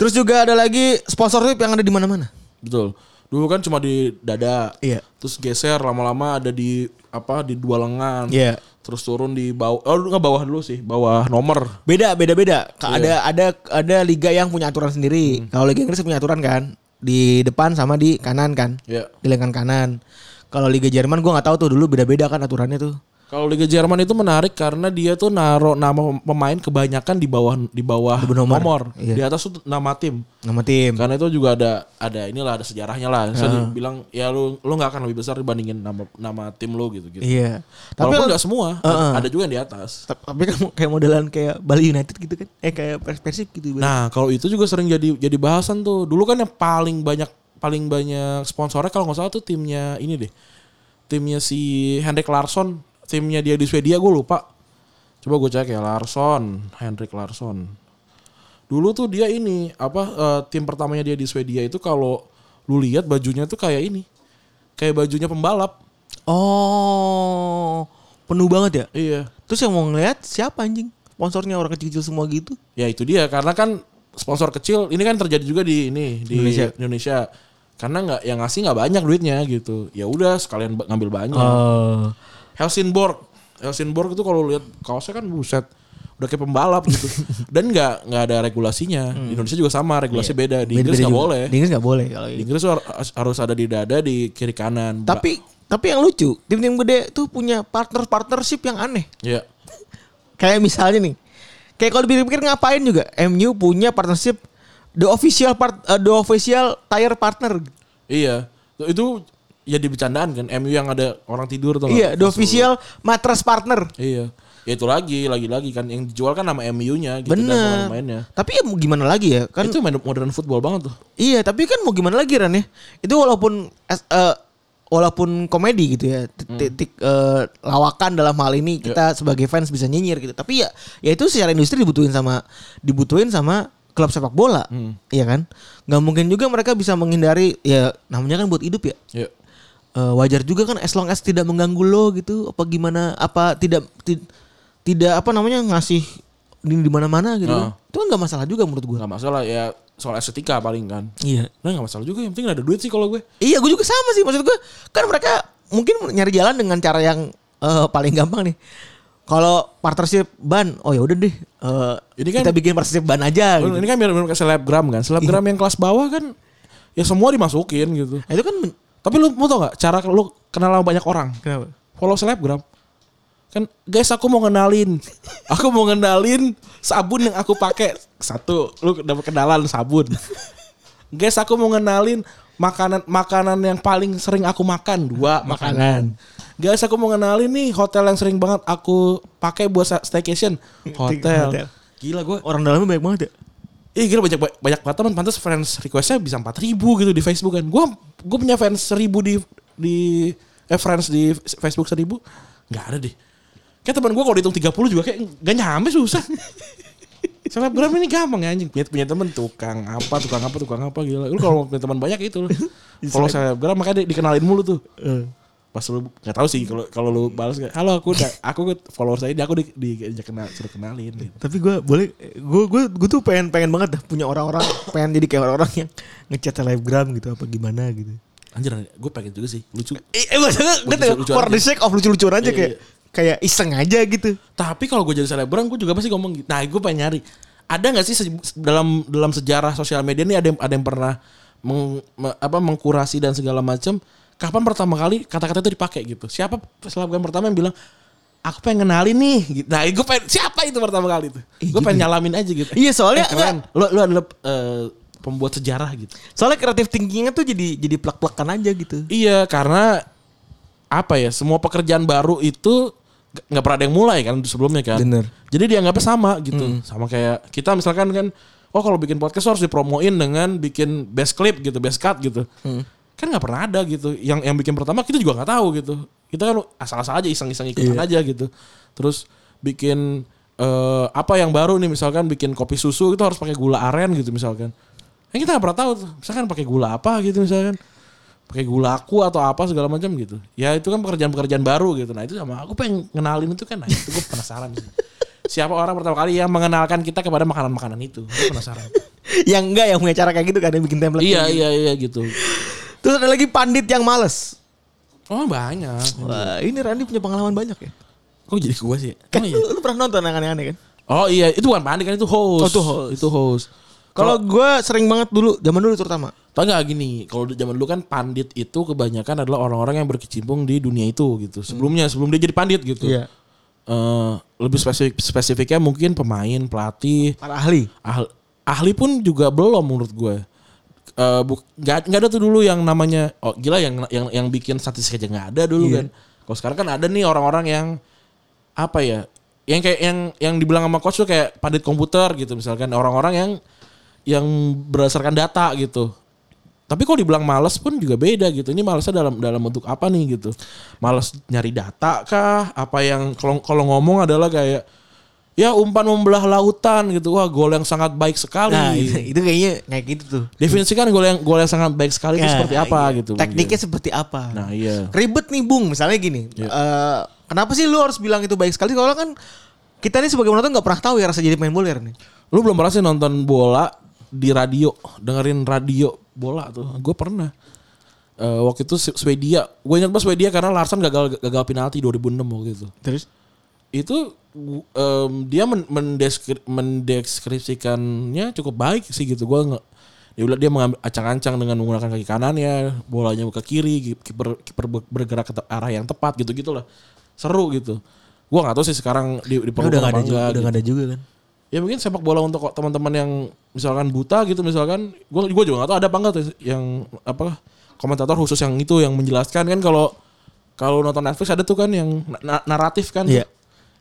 [SPEAKER 3] Terus juga ada lagi sponsorship yang ada di mana-mana.
[SPEAKER 2] Betul. Dulu kan cuma di dada.
[SPEAKER 3] Iya.
[SPEAKER 2] Terus geser lama-lama ada di apa di dua lengan.
[SPEAKER 3] Iya.
[SPEAKER 2] Terus turun di bawah. Oh nggak bawah dulu sih. Bawah nomor.
[SPEAKER 3] Beda beda beda. Ka- Ada ada ada liga yang punya aturan sendiri. Kalau Liga Inggris punya aturan kan di depan sama di kanan kan.
[SPEAKER 2] Iya.
[SPEAKER 3] Di lengan kanan. Kalau Liga Jerman gua nggak tahu tuh dulu beda-beda kan aturannya tuh.
[SPEAKER 2] Kalau Liga Jerman itu menarik karena dia tuh naruh nama pemain kebanyakan di bawah di bawah
[SPEAKER 3] Di nomor. Iya.
[SPEAKER 2] Di atas tuh nama tim.
[SPEAKER 3] Nama tim.
[SPEAKER 2] Karena itu juga ada ada inilah ada sejarahnya lah. Saya bilang ya lu lu nggak akan lebih besar dibandingin nama nama tim lu gitu gitu.
[SPEAKER 3] Iya. Tapi
[SPEAKER 2] Walaupun nggak semua, ada- ada juga yang di atas.
[SPEAKER 3] tapi kan kayak modelan kayak Bali United gitu kan. Eh kayak Pers- Persib gitu.
[SPEAKER 2] Nah, kalau itu juga sering jadi jadi bahasan tuh. Dulu kan yang paling banyak paling banyak sponsornya kalau nggak salah tuh timnya ini deh. Timnya si Henrik Larsson, timnya dia di Swedia gue lupa. Coba gue cek ya Larsson, Henrik Larsson. Dulu tuh dia ini apa eh, tim pertamanya dia di Swedia itu kalau lu lihat bajunya tuh kayak ini. Kayak bajunya pembalap.
[SPEAKER 3] Oh, penuh banget ya.
[SPEAKER 2] Iya.
[SPEAKER 3] Terus yang mau ngeliat siapa anjing? Sponsornya orang kecil-kecil semua gitu.
[SPEAKER 2] Ya itu dia karena kan sponsor kecil ini kan terjadi juga di ini di Indonesia.
[SPEAKER 3] Indonesia.
[SPEAKER 2] Karena nggak yang ngasih nggak banyak duitnya gitu. Ya udah sekalian ba- ngambil banyak.
[SPEAKER 3] Oh.
[SPEAKER 2] Helsingborg. Helsingborg itu kalau lihat kaosnya kan buset udah kayak pembalap gitu. Dan nggak nggak ada regulasinya.
[SPEAKER 3] Hmm.
[SPEAKER 2] Di Indonesia juga sama, regulasi beda. Di Inggris nggak boleh.
[SPEAKER 3] Iya. Di Inggris nggak boleh kalau
[SPEAKER 2] Di
[SPEAKER 3] ini.
[SPEAKER 2] Inggris har- harus ada di dada, di kiri kanan. Ba-
[SPEAKER 3] Tapi tapi yang lucu, tim-tim gede tuh punya partner-partnership yang aneh.
[SPEAKER 2] ya.
[SPEAKER 3] Kayak misalnya nih. Kayak kalau dipikir-pikir ngapain juga MU punya partnership the official part eh, the official tire partner.
[SPEAKER 2] Iya. Itu ya di bercandaan kan MU yang ada orang tidur tuh.
[SPEAKER 3] Iya, the official matras partner.
[SPEAKER 2] Iya. Ya itu lagi, lagi-lagi kan yang dijual kan nama MU-nya gitu dan
[SPEAKER 3] Bener.
[SPEAKER 2] pemain-pemainnya.
[SPEAKER 3] Tapi ya mau gimana lagi ya? Kan
[SPEAKER 2] itu main modern football banget tuh.
[SPEAKER 3] Iya, tapi kan mau gimana lagi Ran ya? Itu walaupun es- eh, walaupun komedi gitu ya, ti- titik eh, lawakan dalam hal ini kita sebagai fans bisa nyinyir gitu. Tapi ya ya itu secara industri dibutuhin sama dibutuhin sama klub sepak bola, iya kan? Nggak mungkin juga mereka bisa menghindari ya namanya kan buat hidup ya.
[SPEAKER 2] Iya.
[SPEAKER 3] Eh, wajar juga kan as long as tidak mengganggu lo gitu apa gimana apa tidak ti- tidak apa namanya ngasih di di mana-mana gitu.
[SPEAKER 2] Heeh.
[SPEAKER 3] Itu kan nggak masalah juga menurut gua.
[SPEAKER 2] Gak masalah ya soal estetika paling kan.
[SPEAKER 3] Iya.
[SPEAKER 2] Nah gak masalah juga yang penting ada duit sih kalau gue.
[SPEAKER 3] Iya gue juga sama sih maksud gue kan mereka mungkin nyari jalan dengan cara yang eh, paling gampang nih. Kalau partnership ban, oh ya udah deh. eh,
[SPEAKER 2] Ini kan-
[SPEAKER 3] kita bikin partnership ban aja. gitu.
[SPEAKER 2] Ini kan mirip-mirip kayak selebgram kan.
[SPEAKER 3] Iya.
[SPEAKER 2] Selebgram yang kelas bawah kan ya semua dimasukin gitu.
[SPEAKER 3] Nah, itu kan men-
[SPEAKER 2] Tapi lu mau tau gak cara lu kenal sama banyak orang?
[SPEAKER 3] kenapa?
[SPEAKER 2] Follow selebgram. Kan guys aku mau kenalin. Aku mau kenalin sabun yang aku pakai. Satu, lu dapat kenalan sabun. Guys aku mau kenalin makanan makanan yang paling sering aku makan. Dua makanan. Guys aku mau kenalin nih hotel yang sering banget aku pakai buat sa- staycation.
[SPEAKER 3] Hotel.
[SPEAKER 2] Hotel. Gila gue.
[SPEAKER 3] Orang dalamnya banyak banget ya.
[SPEAKER 2] Ih gila banyak banyak banget teman pantas friends requestnya bisa 4000 gitu di Facebook kan. Gua gue punya fans 1000 di di eh friends di Facebook 1000 nggak ada deh. Kayak teman gua kalau dihitung 30 juga kayak nggak nyampe susah. Selebgram ini gampang ya anjing. Punya, punya teman tukang apa, tukang apa, tukang apa gila. Lu kalau mau punya teman banyak itu lu. Kalau selebgram makanya di- dikenalin mulu tuh.
[SPEAKER 3] Eh,
[SPEAKER 2] Pas lu nggak tahu sih kalau kalau lu balas kayak halo aku udah- aku follower saya dia aku di, diajak kenal suruh kenalin gitu.
[SPEAKER 3] Tapi gue boleh, gue gue gue tuh pengen pengen banget dah punya orang-orang pengen jadi kayak orang-orang yang ngechat telegram gitu apa gimana gitu.
[SPEAKER 2] Anjir, gue pengen juga sih. Lucu.
[SPEAKER 3] Eh, eh, maksudnya gue
[SPEAKER 2] Lucu-
[SPEAKER 3] tengok,
[SPEAKER 2] lucuan
[SPEAKER 3] for
[SPEAKER 2] aja.
[SPEAKER 3] the sake of lucu-lucuan aja kayak kayak iseng aja gitu.
[SPEAKER 2] Tapi kalau gue jadi selebgram, gue juga pasti ngomong gitu. Nah, gue pengen nyari. Ada nggak sih se- dalam dalam sejarah sosial media ini ada yang, ada yang pernah meng, me- apa mengkurasi dan segala macam? Kapan pertama kali kata-kata itu dipakai gitu? Siapa selebgram pertama yang bilang aku pengen kenalin nih? Gitu. Nah, gue pengen siapa itu pertama kali itu?
[SPEAKER 3] Ih,
[SPEAKER 2] gue
[SPEAKER 3] gitu
[SPEAKER 2] pengen
[SPEAKER 3] ya.
[SPEAKER 2] nyalamin aja gitu.
[SPEAKER 3] Iya, soalnya
[SPEAKER 2] keren. Lu lu adalah eh, pembuat sejarah gitu.
[SPEAKER 3] Soalnya kreatif thinkingnya tuh jadi jadi plak-plakan aja gitu.
[SPEAKER 2] Iya karena apa ya semua pekerjaan baru itu g- nggak pernah ada yang mulai kan sebelumnya kan.
[SPEAKER 3] Bener.
[SPEAKER 2] Jadi dianggapnya sama gitu. Sama kayak kita misalkan kan oh kalau bikin podcast harus dipromoin dengan bikin best clip gitu, best cut gitu. Kan nggak pernah ada gitu. Yang yang bikin pertama kita juga nggak tahu gitu. Kita kan asal-asal aja iseng-iseng ikutan aja gitu. Terus bikin eh, apa yang baru nih misalkan bikin kopi susu itu harus pakai gula aren gitu misalkan. Yang kita nggak pernah tahu tuh. Misalkan pakai gula apa gitu misalkan pakai gula aku atau apa segala macam gitu. Ya itu kan pekerjaan-pekerjaan baru gitu. Nah itu sama aku pengen kenalin itu kan. Nah itu gue penasaran sih. Siapa orang pertama kali yang mengenalkan kita kepada makanan-makanan itu? Gue penasaran.
[SPEAKER 3] yang enggak yang punya cara kayak gitu kan yang bikin template.
[SPEAKER 2] iya iya iya gitu.
[SPEAKER 3] Terus ada lagi pandit yang males.
[SPEAKER 2] Oh banyak.
[SPEAKER 3] Wah, ini Randy punya pengalaman banyak ya.
[SPEAKER 2] Kok jadi gue sih? Oh
[SPEAKER 3] Kan
[SPEAKER 2] iya.
[SPEAKER 3] lu, lu pernah nonton yang aneh-aneh kan?
[SPEAKER 2] Oh iya itu bukan panik kan itu host.
[SPEAKER 3] Oh, itu host.
[SPEAKER 2] Itu host.
[SPEAKER 3] Kalau gua sering banget dulu, zaman dulu terutama.
[SPEAKER 2] Tau gak gini, kalau di zaman dulu kan pandit itu kebanyakan adalah orang-orang yang berkecimpung di dunia itu gitu. Sebelumnya, sebelum dia jadi pandit gitu.
[SPEAKER 3] Iya.
[SPEAKER 2] Eh, lebih spesifik spesifiknya mungkin pemain, pelatih,
[SPEAKER 3] Para ahli.
[SPEAKER 2] ahli, ahli pun juga belum menurut gue. Eh, bu- nggak nggak ada tuh dulu yang namanya oh gila yang yang yang bikin statistik aja nggak ada dulu kan. Kalau sekarang kan ada nih orang-orang yang apa ya? Yang kayak yang yang dibilang sama coach tuh kayak pandit komputer gitu misalkan orang-orang yang yang berdasarkan data gitu. Tapi kalau dibilang males pun juga beda gitu. Ini malesnya dalam dalam bentuk apa nih gitu. Males nyari data kah? Apa yang kalau kalau ngomong adalah kayak ya umpan membelah lautan gitu. Wah, gol yang sangat baik sekali.
[SPEAKER 3] Nah, itu, itu kayaknya kayak gitu tuh.
[SPEAKER 2] Definisikan gol yang gol yang sangat baik sekali itu
[SPEAKER 3] Ya,
[SPEAKER 2] seperti apa
[SPEAKER 3] iya.
[SPEAKER 2] gitu.
[SPEAKER 3] Tekniknya
[SPEAKER 2] mungkin.
[SPEAKER 3] seperti apa?
[SPEAKER 2] Nah, iya.
[SPEAKER 3] Ribet nih Bung, misalnya gini. eh, kenapa sih lu harus bilang itu baik sekali? Kalau kan kita nih sebagai penonton nggak pernah tahu ya rasa jadi main bola nih.
[SPEAKER 2] Lu belum pernah sih nonton bola di radio, dengerin radio bola tuh. Gue pernah. Eh, waktu itu Swedia, gue ingat banget Swedia karena Larsen gagal gagal penalti 2006 waktu itu.
[SPEAKER 3] Terus?
[SPEAKER 2] itu w- em, dia men- mendeskri- mendeskripsikannya cukup baik sih gitu gua nggak dia bilang dia mengambil ancang-ancang dengan menggunakan kaki kanannya bolanya ke kiri ki- kiper kiper ber- bergerak ke te- arah yang tepat gitu gitulah seru gitu gua nggak tahu sih sekarang di, di
[SPEAKER 3] udah nggak ada juga, udah nggak ada juga kan?
[SPEAKER 2] ya mungkin sepak bola untuk kok teman-teman yang misalkan buta gitu misalkan gue gua juga nggak tahu ada apa enggak tuh yang apa komentator khusus yang itu yang menjelaskan kan kalau kalau nonton Netflix ada tuh kan yang na- naratif kan
[SPEAKER 3] Iya.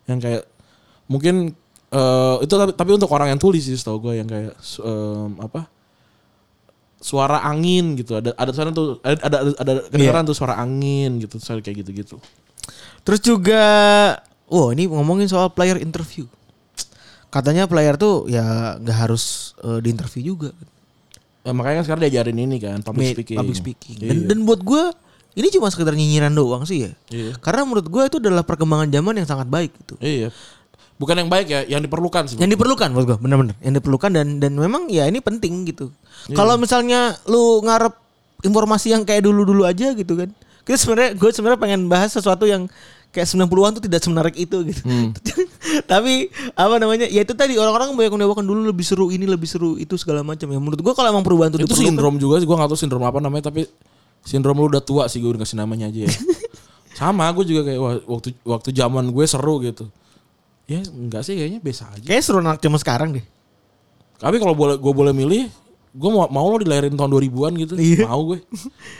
[SPEAKER 2] yang kayak mungkin eh, itu tapi, tapi untuk orang yang tulis sih tau gue yang kayak su- em, apa suara angin gitu ada ada sana tuh ada ada ada, ada
[SPEAKER 3] Iya.
[SPEAKER 2] kedengeran tuh suara angin gitu suara kayak gitu gitu
[SPEAKER 3] Terus juga, wow ini ngomongin soal player interview. Katanya player tuh ya nggak harus eh, di interview juga.
[SPEAKER 2] Eh, makanya kan sekarang diajarin ini kan public
[SPEAKER 3] Me-
[SPEAKER 2] speaking
[SPEAKER 3] Public speaking.
[SPEAKER 2] Iya.
[SPEAKER 3] Dan, dan buat gue ini cuma sekedar nyinyiran doang sih ya.
[SPEAKER 2] Iya.
[SPEAKER 3] Karena menurut gue itu adalah perkembangan zaman yang sangat baik gitu.
[SPEAKER 2] Iya. Bukan yang baik ya, yang diperlukan sih.
[SPEAKER 3] Yang diperlukan menurut gue, bener-bener. Yang diperlukan dan dan memang ya ini penting gitu. Kalau misalnya lu ngarep informasi yang kayak dulu-dulu aja gitu kan. Kita sebenarnya gue sebenarnya pengen bahas sesuatu yang kayak 90-an tuh tidak semenarik itu gitu. Tapi apa namanya? Ya itu tadi orang-orang banyak mendewakan dulu lebih seru ini, lebih seru itu segala macam ya. Menurut gue kalau emang perubahan itu,
[SPEAKER 2] itu
[SPEAKER 3] diperlukan,
[SPEAKER 2] sindrom juga sih, gue gak tau sindrom apa namanya tapi sindrom lu udah tua sih gue udah kasih namanya aja ya. Sama gue juga kayak wah, waktu waktu zaman gue seru gitu. Ya enggak sih kayaknya biasa aja.
[SPEAKER 3] kayak seru anak zaman sekarang deh.
[SPEAKER 2] Tapi kalau boleh gue boleh milih, gue mau mau lo dilahirin tahun 2000-an gitu.
[SPEAKER 3] Iya.
[SPEAKER 2] Mau gue.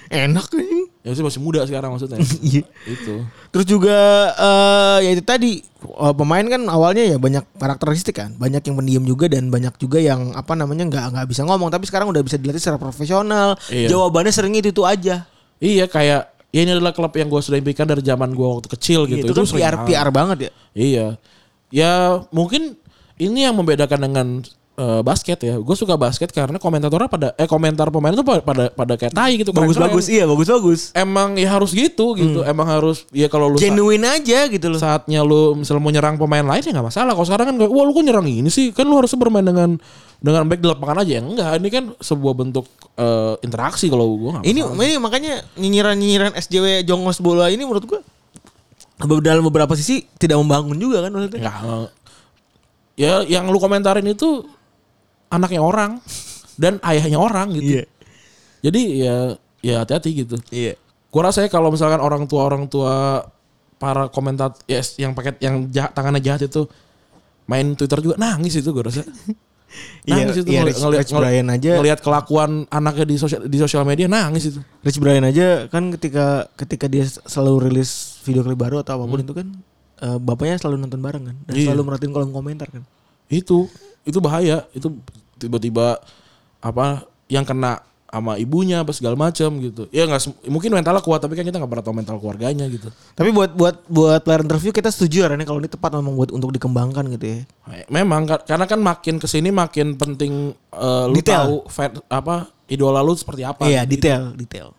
[SPEAKER 3] Enak kan?
[SPEAKER 2] Ya sih masih muda sekarang maksudnya.
[SPEAKER 3] Iya.
[SPEAKER 2] itu.
[SPEAKER 3] Terus juga eh ya itu tadi eh, pemain kan awalnya ya banyak karakteristik kan, banyak yang pendiam juga dan banyak juga yang apa namanya nggak nggak bisa ngomong tapi sekarang udah bisa dilatih secara profesional.
[SPEAKER 2] Iya.
[SPEAKER 3] Jawabannya sering itu itu aja.
[SPEAKER 2] Iya kayak ya ini adalah klub yang gue sudah impikan dari zaman gue waktu kecil gitu.
[SPEAKER 3] itu, kan
[SPEAKER 2] sering
[SPEAKER 3] PR
[SPEAKER 2] banget.
[SPEAKER 3] PR banget ya.
[SPEAKER 2] Iya. Ya mungkin ini yang membedakan dengan eh, basket ya. Gue suka basket karena komentatornya pada eh komentar pemain itu pada pada, pada kayak tai gitu.
[SPEAKER 3] Bagus-bagus Hmm.
[SPEAKER 2] Keren-keren.
[SPEAKER 3] iya bagus-bagus.
[SPEAKER 2] Emang ya harus gitu gitu. Emang harus ya kalau lu sa-
[SPEAKER 3] Genuine aja gitu loh.
[SPEAKER 2] saatnya lu misalnya mau nyerang pemain lain ya nggak masalah. Kalau sekarang kan kayak wah lu kok nyerang ini sih kan lu harusnya bermain dengan dengan baik di lapangan aja ya enggak ini kan sebuah bentuk eh, interaksi kalau gue nggak
[SPEAKER 3] Ini ini makanya nyinyiran-nyinyiran SJW jongos bola ini menurut gua be- dalam beberapa sisi tidak membangun juga kan maksudnya.
[SPEAKER 2] Enggak. eh, Ya yang lu komentarin itu anaknya orang dan ayahnya orang gitu. Jadi ya ya hati-hati gitu.
[SPEAKER 3] Iya.
[SPEAKER 2] Gua rasa ya kalau misalkan orang tua orang tua para komentar yes, yang paket yang jahat, tangannya jahat itu main Twitter juga nangis itu gua rasa. Nangis
[SPEAKER 3] Iya,
[SPEAKER 2] itu
[SPEAKER 3] iya,
[SPEAKER 2] ngeli-
[SPEAKER 3] Rich-
[SPEAKER 2] ngeliat-
[SPEAKER 3] Rich Brian aja.
[SPEAKER 2] ngeliat kelakuan anaknya di sosial di sosial media nangis itu.
[SPEAKER 3] Rich Brian aja kan ketika ketika dia selalu rilis video klip baru atau apapun itu kan eh, bapaknya selalu nonton bareng kan dan
[SPEAKER 2] Iya.
[SPEAKER 3] selalu merhatiin kolom komentar kan.
[SPEAKER 2] itu itu bahaya itu tiba-tiba apa yang kena sama ibunya apa segala macam gitu ya nggak sem- mungkin mentalnya kuat tapi kan kita nggak pernah tahu mental keluarganya gitu
[SPEAKER 3] Tapi buat buat buat player interview kita setuju Ren, ya kalau ini tepat memang buat untuk dikembangkan gitu ya.
[SPEAKER 2] memang ka- karena kan makin kesini makin penting eh, lu
[SPEAKER 3] Detail.
[SPEAKER 2] tahu fan, apa idola lu seperti apa
[SPEAKER 3] Iya, detail, detail.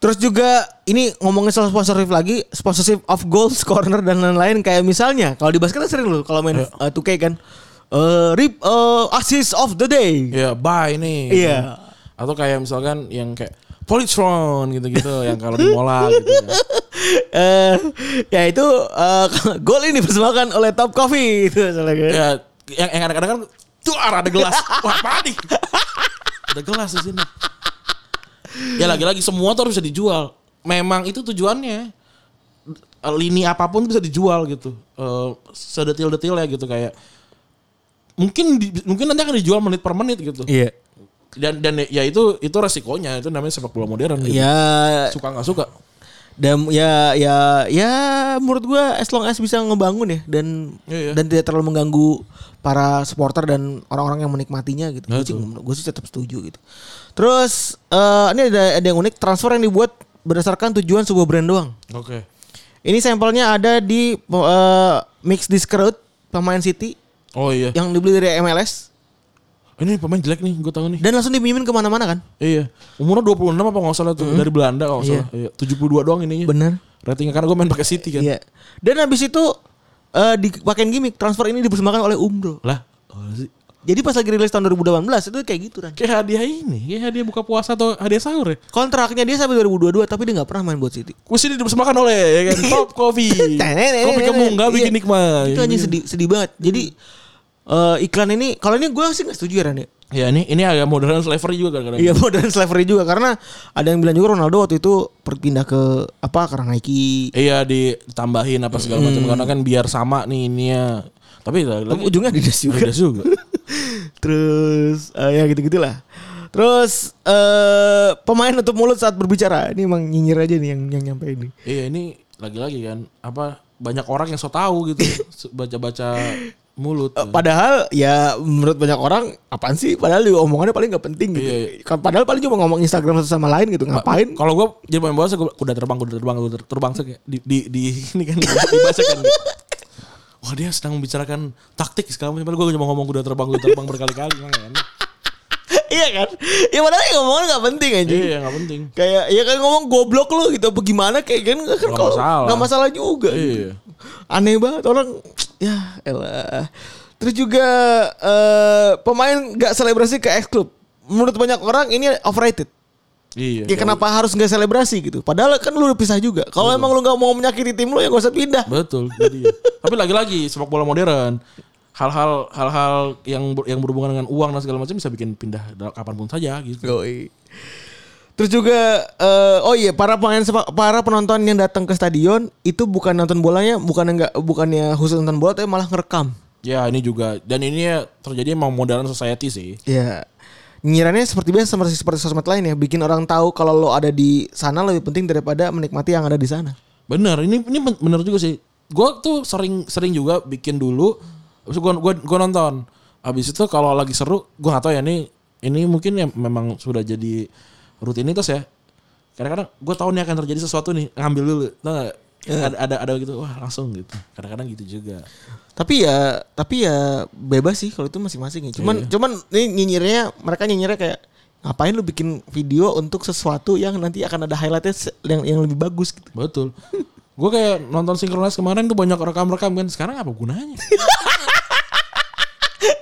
[SPEAKER 3] Terus juga ini ngomongin soal sponsorship lagi, sponsorship of goals corner dan lain-lain kayak misalnya kalau di basket kan sering loh kalau main uh, 2K kan eh, rip eh, assist of the day.
[SPEAKER 2] ya bye nih
[SPEAKER 3] Iya.
[SPEAKER 2] atau kayak misalkan yang kayak Politron gitu-gitu yang kalau di mola gitu ya.
[SPEAKER 3] Eh ya itu eh, gol ini dipersembahkan oleh Top Coffee itu misalnya kan.
[SPEAKER 2] ya yang, yang kadang-kadang kan tuh arah ada gelas wah panik ada gelas di sini ya lagi-lagi semua tuh harus bisa dijual memang itu tujuannya lini apapun bisa dijual gitu Eh sedetil-detil ya gitu kayak mungkin di- mungkin nanti akan dijual menit per menit gitu
[SPEAKER 3] Iya.
[SPEAKER 2] dan dan ya itu itu resikonya itu namanya sepak bola modern gitu.
[SPEAKER 3] Ya
[SPEAKER 2] suka nggak suka
[SPEAKER 3] dan ya ya ya menurut gua as long as bisa ngebangun ya dan
[SPEAKER 2] Iya, iya.
[SPEAKER 3] dan tidak terlalu mengganggu para supporter dan orang-orang yang menikmatinya gitu. Gue sih, gua sih tetap setuju gitu. Terus eh, ini ada ada yang unik transfer yang dibuat berdasarkan tujuan sebuah brand doang.
[SPEAKER 2] oke
[SPEAKER 3] Ini sampelnya ada di eh, Mix Discrout pemain City
[SPEAKER 2] oh iya
[SPEAKER 3] yang dibeli dari MLS
[SPEAKER 2] ini pemain jelek nih gue tahu nih
[SPEAKER 3] dan langsung dipinjemin kemana-mana kan?
[SPEAKER 2] Iya. Umurnya 26 apa nggak salah tuh dari Belanda kalau nggak salah. Iya. 72 doang ininya.
[SPEAKER 3] Bener.
[SPEAKER 2] Ratingnya karena gue main pakai City kan.
[SPEAKER 3] Iya. Dan habis itu eh dipakein gimmick transfer ini dipersembahkan oleh Umbro.
[SPEAKER 2] Lah,
[SPEAKER 3] Oh,
[SPEAKER 2] apa sih?
[SPEAKER 3] Jadi pas lagi rilis tahun 2018 itu kayak gitu kan.
[SPEAKER 2] Kayak hadiah ini, kayak hadiah buka puasa atau hadiah sahur ya.
[SPEAKER 3] Kontraknya dia sampai 2022 tapi dia nggak pernah main buat City.
[SPEAKER 2] Kuis ini dipersembahkan oleh ya kan? Top Coffee. Kopi kamu nggak bikin
[SPEAKER 3] Iya.
[SPEAKER 2] nikmat.
[SPEAKER 3] Itu anjing sedih sedih banget. Jadi eh, iklan ini kalau ini gue sih nggak setuju ya Ran, ya.
[SPEAKER 2] Ya ini ini agak modern slavery juga kadang-kadang.
[SPEAKER 3] Iya modern slavery juga karena ada yang bilang juga Ronaldo waktu itu berpindah ke apa karena Nike.
[SPEAKER 2] Iya ditambahin apa segala macam karena kan biar sama nih ininya. Tapi
[SPEAKER 3] Tapi
[SPEAKER 2] lagi
[SPEAKER 3] ujungnya Adidas juga.
[SPEAKER 2] Adidas juga.
[SPEAKER 3] Terus eh, ya gitu-gitulah. Terus eh pemain nutup mulut saat berbicara. Ini emang nyinyir aja nih yang yang nyampe ini.
[SPEAKER 2] Iya ini lagi-lagi kan apa banyak orang yang so tahu gitu baca-baca mulut.
[SPEAKER 3] Eh, Padahal ya menurut banyak orang apaan sih? Padahal juga omongannya paling nggak penting gitu.
[SPEAKER 2] Iya,
[SPEAKER 3] Kan Padahal paling cuma ngomong Instagram satu sama lain gitu. Ngapain?
[SPEAKER 2] Kalau gue jadi pemain bola gue kuda terbang, kuda terbang, kuda terbang sek ya. di di di ini kan dibaca kan. Wah dia sedang membicarakan taktik sekarang. Padahal gue cuma ngomong kuda terbang, kuda terbang berkali-kali. Emang kan?
[SPEAKER 3] iya kan? Ya padahal yang ngomongan nggak penting aja.
[SPEAKER 2] Iya nggak penting.
[SPEAKER 3] Kayak ya kan ngomong goblok lu gitu apa gimana kayak kan kan
[SPEAKER 2] Nggak
[SPEAKER 3] kalau-
[SPEAKER 2] masalah.
[SPEAKER 3] nggak masalah juga. gitu.
[SPEAKER 2] Iya.
[SPEAKER 3] Aneh banget orang ya elah. Terus juga eh, pemain nggak selebrasi ke ex club. Menurut banyak orang ini overrated.
[SPEAKER 2] Iya.
[SPEAKER 3] Ya kenapa harus nggak selebrasi gitu? Padahal kan lu udah pisah juga. Kalau emang lu nggak mau menyakiti tim lu ya gak usah pindah.
[SPEAKER 2] Betul. Jadi. iya. Tapi lagi-lagi sepak bola modern hal-hal hal-hal yang ber- yang berhubungan dengan uang dan segala macam bisa bikin pindah da- kapanpun saja gitu.
[SPEAKER 3] Yoi. Terus juga eh, oh iya para pemain sepak- para penonton yang datang ke stadion itu bukan nonton bolanya, bukan enggak bukannya khusus nonton bola tapi malah ngerekam.
[SPEAKER 2] Ya ini juga dan ini ya terjadi emang modern society sih.
[SPEAKER 3] Ya. Nyirannya seperti biasa seperti seperti sosmed lain ya, bikin orang tahu kalau lo ada di sana lebih penting daripada menikmati yang ada di sana.
[SPEAKER 2] Bener, ini ini ben- bener juga sih. Gue tuh sering sering juga bikin dulu. Habis gue gua, gua nonton. Habis itu kalau lagi seru, gue gak tahu ya ini ini mungkin ya memang sudah jadi rutinitas ya. Kadang-kadang gue tahu nih akan terjadi sesuatu nih, ngambil dulu. Tau nggak? Ada, ada ada gitu, wah langsung gitu. Kadang-kadang gitu juga.
[SPEAKER 3] Tapi ya, tapi ya bebas sih kalau itu masing-masing ya. Cuman cuman ini nyinyirnya mereka nyinyirnya kayak ngapain lu bikin video untuk sesuatu yang nanti akan ada highlightnya se- yang yang lebih bagus gitu.
[SPEAKER 2] Betul. Gue kayak nonton sinkronis kemarin tuh banyak rekam-rekam kan. Sekarang apa gunanya?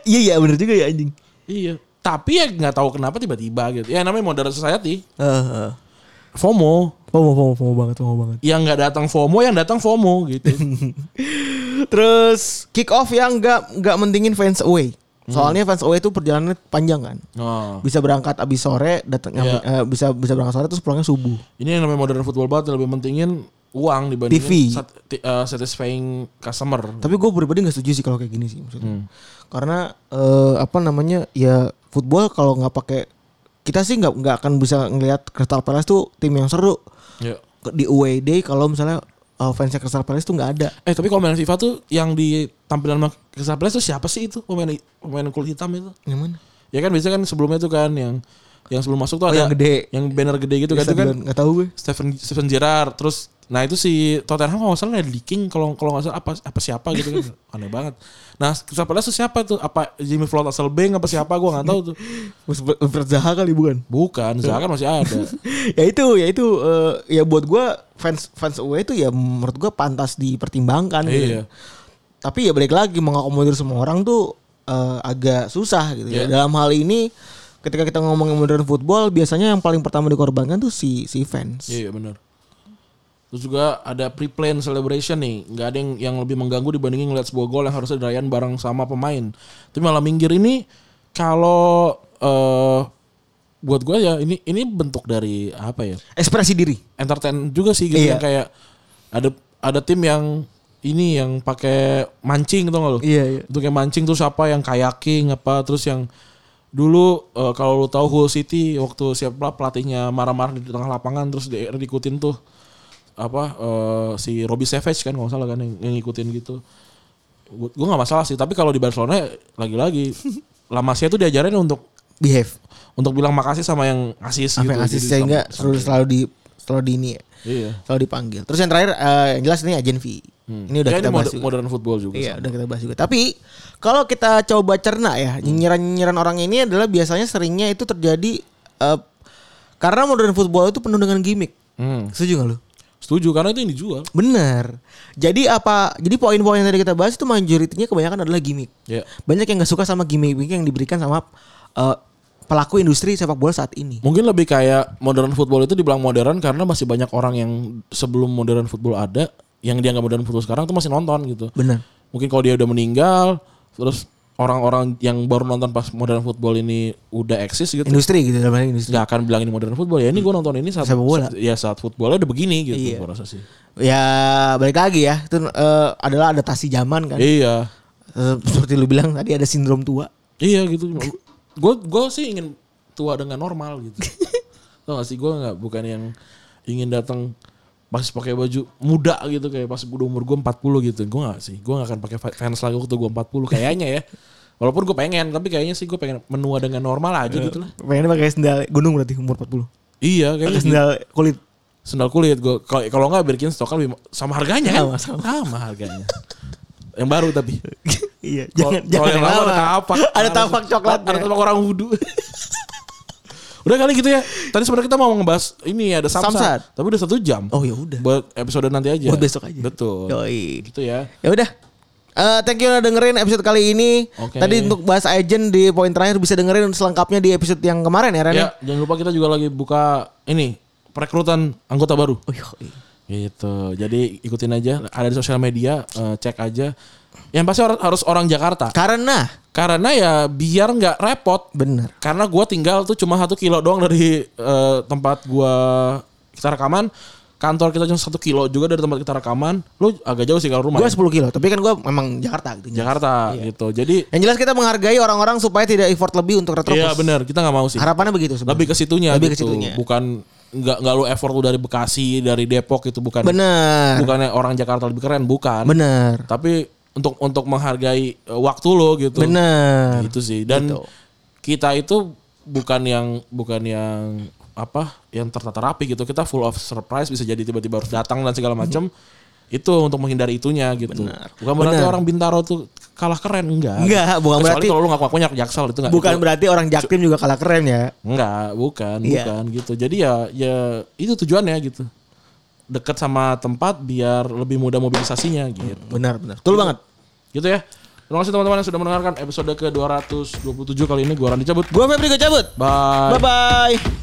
[SPEAKER 3] iya iya bener juga ya anjing.
[SPEAKER 2] Iya. Tapi ya nggak tahu kenapa tiba-tiba gitu. Ya namanya modern society.
[SPEAKER 3] Heeh.
[SPEAKER 2] FOMO.
[SPEAKER 3] FOMO, FOMO, FOMO banget, FOMO banget.
[SPEAKER 2] Yang nggak datang FOMO, yang datang FOMO gitu.
[SPEAKER 3] Terus kick off yang nggak nggak mendingin fans away. Soalnya fans away itu perjalanannya panjang kan.
[SPEAKER 2] Oh.
[SPEAKER 3] Bisa berangkat abis sore, datang
[SPEAKER 2] Iya. Hmm.
[SPEAKER 3] eh, bisa bisa berangkat sore terus pulangnya subuh.
[SPEAKER 2] Ini yang namanya modern football banget lebih pentingin uang dibanding
[SPEAKER 3] TV.
[SPEAKER 2] eh, satisfying customer.
[SPEAKER 3] Tapi gue pribadi nggak setuju sih kalau kayak gini sih
[SPEAKER 2] Hmm.
[SPEAKER 3] maksudnya. Karena eh, apa namanya ya football kalau nggak pakai kita sih nggak nggak akan bisa ngelihat Crystal Palace tuh tim yang seru
[SPEAKER 2] Ya.
[SPEAKER 3] di away day kalau misalnya eh, fansnya Crystal Palace tuh nggak ada.
[SPEAKER 2] Eh tapi kalau main FIFA tuh yang di tampilan sama Crystal Palace tuh siapa sih itu pemain pemain kulit hitam itu?
[SPEAKER 3] Yang mana?
[SPEAKER 2] Ya kan biasanya kan sebelumnya tuh kan yang yang sebelum masuk tuh
[SPEAKER 3] Oh,
[SPEAKER 2] ada
[SPEAKER 3] yang gede.
[SPEAKER 2] yang banner gede gitu kan itu kan
[SPEAKER 3] Stadion, nggak tahu gue.
[SPEAKER 2] Stephen Stephen Gerrard terus nah itu si Tottenham kalau nggak salah Ledley King kalau kalau nggak salah apa apa siapa gitu kan aneh banget. Nah Crystal Palace tuh siapa tuh? Apa Jimmy Floyd Hasselbank apa siapa? Gue nggak tahu tuh.
[SPEAKER 3] Wilfried Zaha kali bukan?
[SPEAKER 2] Bukan, Zaha kan masih ada.
[SPEAKER 3] ya itu ya itu eh, ya buat gua fans fans away itu ya menurut gua pantas dipertimbangkan
[SPEAKER 2] Iya.
[SPEAKER 3] gitu. tapi ya balik lagi mengakomodir semua orang tuh eh, agak susah gitu ya
[SPEAKER 2] Iya.
[SPEAKER 3] dalam hal ini ketika kita ngomongin modern football biasanya yang paling pertama dikorbankan tuh si si fans
[SPEAKER 2] Iya, iya benar. Terus juga ada pre-plan celebration nih. Nggak ada yang yang lebih mengganggu dibandingin ngeliat sebuah gol yang harusnya dirayain bareng sama pemain. Tapi malam minggir ini kalau eh buat gue ya ini ini bentuk dari apa ya?
[SPEAKER 3] ekspresi diri
[SPEAKER 2] Entertain juga sih gitu
[SPEAKER 3] Iya.
[SPEAKER 2] yang kayak ada ada tim yang ini yang pakai mancing tau gak lu?
[SPEAKER 3] iya iya
[SPEAKER 2] Itu kayak mancing terus apa yang kayaking apa terus yang dulu eh, kalau lu tahu Hull City waktu siapa pelatihnya marah-marah di tengah lapangan terus di, diikutin tuh apa eh, si Robbie Savage kan kalau nggak salah kan yang, yang ngikutin gitu. Gue nggak masalah sih, tapi kalau di Barcelona lagi-lagi Lamasia tuh diajarin untuk
[SPEAKER 3] behave
[SPEAKER 2] untuk bilang makasih sama yang asis
[SPEAKER 3] apa yang
[SPEAKER 2] gitu.
[SPEAKER 3] asis
[SPEAKER 2] Jadi
[SPEAKER 3] sehingga
[SPEAKER 2] sam-
[SPEAKER 3] selalu selalu di selalu di ini ya,
[SPEAKER 2] Iya.
[SPEAKER 3] selalu dipanggil terus yang terakhir eh, yang jelas ini agen V ini udah
[SPEAKER 2] Ya,
[SPEAKER 3] kita
[SPEAKER 2] moder-
[SPEAKER 3] bahas juga.
[SPEAKER 2] modern football juga.
[SPEAKER 3] Iya, udah kita bahas juga. Tapi kalau kita coba cerna ya, nyinyiran-nyinyiran orang ini adalah biasanya seringnya itu terjadi eh, karena modern football itu penuh dengan gimmick.
[SPEAKER 2] Hmm.
[SPEAKER 3] Setuju gak lu?
[SPEAKER 2] Setuju karena itu yang dijual.
[SPEAKER 3] Bener. Jadi apa? Jadi poin-poin yang tadi kita bahas itu majoritinya kebanyakan adalah gimmick.
[SPEAKER 2] Iya.
[SPEAKER 3] Banyak yang gak suka sama gimmick-gimmick yang diberikan sama eh, pelaku industri sepak bola saat ini.
[SPEAKER 2] Mungkin lebih kayak modern football itu dibilang modern karena masih banyak orang yang sebelum modern football ada yang dianggap modern football sekarang tuh masih nonton gitu.
[SPEAKER 3] Bener.
[SPEAKER 2] Mungkin kalau dia udah meninggal terus orang-orang yang baru nonton pas modern football ini udah eksis gitu
[SPEAKER 3] Industri gitu dalam hal ini industri.
[SPEAKER 2] nggak akan bilang ini modern football ya ini gue nonton ini saat
[SPEAKER 3] Sepak bola.
[SPEAKER 2] ya saat footballnya udah begini gitu
[SPEAKER 3] Iya.
[SPEAKER 2] gua rasa sih
[SPEAKER 3] Ya balik lagi ya, itu eh, adalah adaptasi zaman kan.
[SPEAKER 2] iya
[SPEAKER 3] Eh, seperti lu bilang tadi ada sindrom tua.
[SPEAKER 2] iya gitu gue gue sih ingin tua dengan normal gitu tau gak sih gue nggak bukan yang ingin datang pas pakai baju muda gitu kayak pas udah umur gue 40 gitu gue nggak sih gue nggak akan pakai fa- fans lagi waktu gue 40 kayaknya ya walaupun gue pengen tapi kayaknya sih gue pengen menua dengan normal
[SPEAKER 3] Iya.
[SPEAKER 2] aja gitu lah
[SPEAKER 3] Pengennya pakai sendal gunung berarti umur 40.
[SPEAKER 2] iya kayaknya
[SPEAKER 3] Pakai
[SPEAKER 2] gitu.
[SPEAKER 3] sendal kulit.
[SPEAKER 2] sendal kulit gue kalau kalau nggak bikin stokan lebih ma- sama harganya kan
[SPEAKER 3] Sama, sama.
[SPEAKER 2] sama harganya yang baru tapi
[SPEAKER 3] iya,
[SPEAKER 2] Kalau-
[SPEAKER 3] jangan jangan
[SPEAKER 2] kalau yang lama ada tapak.
[SPEAKER 3] Ada tapak coklat. ya.
[SPEAKER 2] Ada tapak orang wudhu. udah kali gitu ya. Tadi sebenarnya kita mau ngebahas ini ada samsat,
[SPEAKER 3] Samsat.
[SPEAKER 2] tapi udah satu jam.
[SPEAKER 3] Oh ya udah.
[SPEAKER 2] Buat episode nanti aja.
[SPEAKER 3] Buat besok aja.
[SPEAKER 2] ya, Betul.
[SPEAKER 3] Yoi.
[SPEAKER 2] Gitu ya.
[SPEAKER 3] Ya udah. Eh, thank you udah dengerin episode kali ini.
[SPEAKER 2] Oke.
[SPEAKER 3] Tadi untuk bahas agent di poin terakhir bisa dengerin selengkapnya di episode yang kemarin ya Ren.
[SPEAKER 2] Ya, jangan lupa kita juga lagi buka ini perekrutan anggota baru.
[SPEAKER 3] Oh, yoi.
[SPEAKER 2] Gitu. Jadi ikutin aja ada di sosial media, eh, cek aja. Yang pasti har- harus orang Jakarta.
[SPEAKER 3] Karena
[SPEAKER 2] Karena ya biar nggak repot
[SPEAKER 3] bener.
[SPEAKER 2] karena gua tinggal tuh cuma satu kilo doang dari eh, tempat gua kita rekaman kantor kita cuma satu kilo juga dari tempat kita rekaman lu agak jauh sih kalau rumah
[SPEAKER 3] Gue
[SPEAKER 2] ya.
[SPEAKER 3] 10 kilo, tapi kan gue memang Jakarta gitu.
[SPEAKER 2] Jakarta gitu jadi
[SPEAKER 3] Yang jelas kita menghargai orang-orang supaya tidak effort lebih untuk retropus.
[SPEAKER 2] iya benar kita nggak mau sih
[SPEAKER 3] Harapannya begitu sebenarnya.
[SPEAKER 2] lebih ke situnya
[SPEAKER 3] Lebih ke
[SPEAKER 2] gitu.
[SPEAKER 3] situnya.
[SPEAKER 2] bukan nggak nggak lu effort lu dari Bekasi dari Depok itu bukan
[SPEAKER 3] Bener.
[SPEAKER 2] bukannya orang Jakarta lebih keren bukan
[SPEAKER 3] Bener.
[SPEAKER 2] tapi untuk untuk menghargai eh, waktu lo gitu
[SPEAKER 3] Bener.
[SPEAKER 2] gitu sih dan kita itu bukan yang bukan yang apa yang tertata rapi gitu kita full of surprise bisa jadi tiba-tiba harus datang dan segala macam itu untuk menghindari itunya gitu bukan berarti
[SPEAKER 3] Mm-hmm. Benar.
[SPEAKER 2] orang bintaro tuh kalah keren enggak
[SPEAKER 3] Enggak, bukan
[SPEAKER 2] Kecuali
[SPEAKER 3] berarti-
[SPEAKER 2] kalau lu ngaku ngakunya jaksel itu enggak
[SPEAKER 3] Bukan berarti orang Jaktim juga kalah keren ya.
[SPEAKER 2] enggak bukan
[SPEAKER 3] Iya.
[SPEAKER 2] bukan gitu jadi ya ya itu tujuannya gitu dekat sama tempat biar lebih mudah mobilisasinya gitu
[SPEAKER 3] Benar, benar. Betul banget.
[SPEAKER 2] gitu ya Terima kasih teman-teman yang sudah mendengarkan episode ke-227 kali ini. Gua Randy cabut.
[SPEAKER 3] Gue Febri gue cabut.
[SPEAKER 2] Bye.
[SPEAKER 3] Bye bye.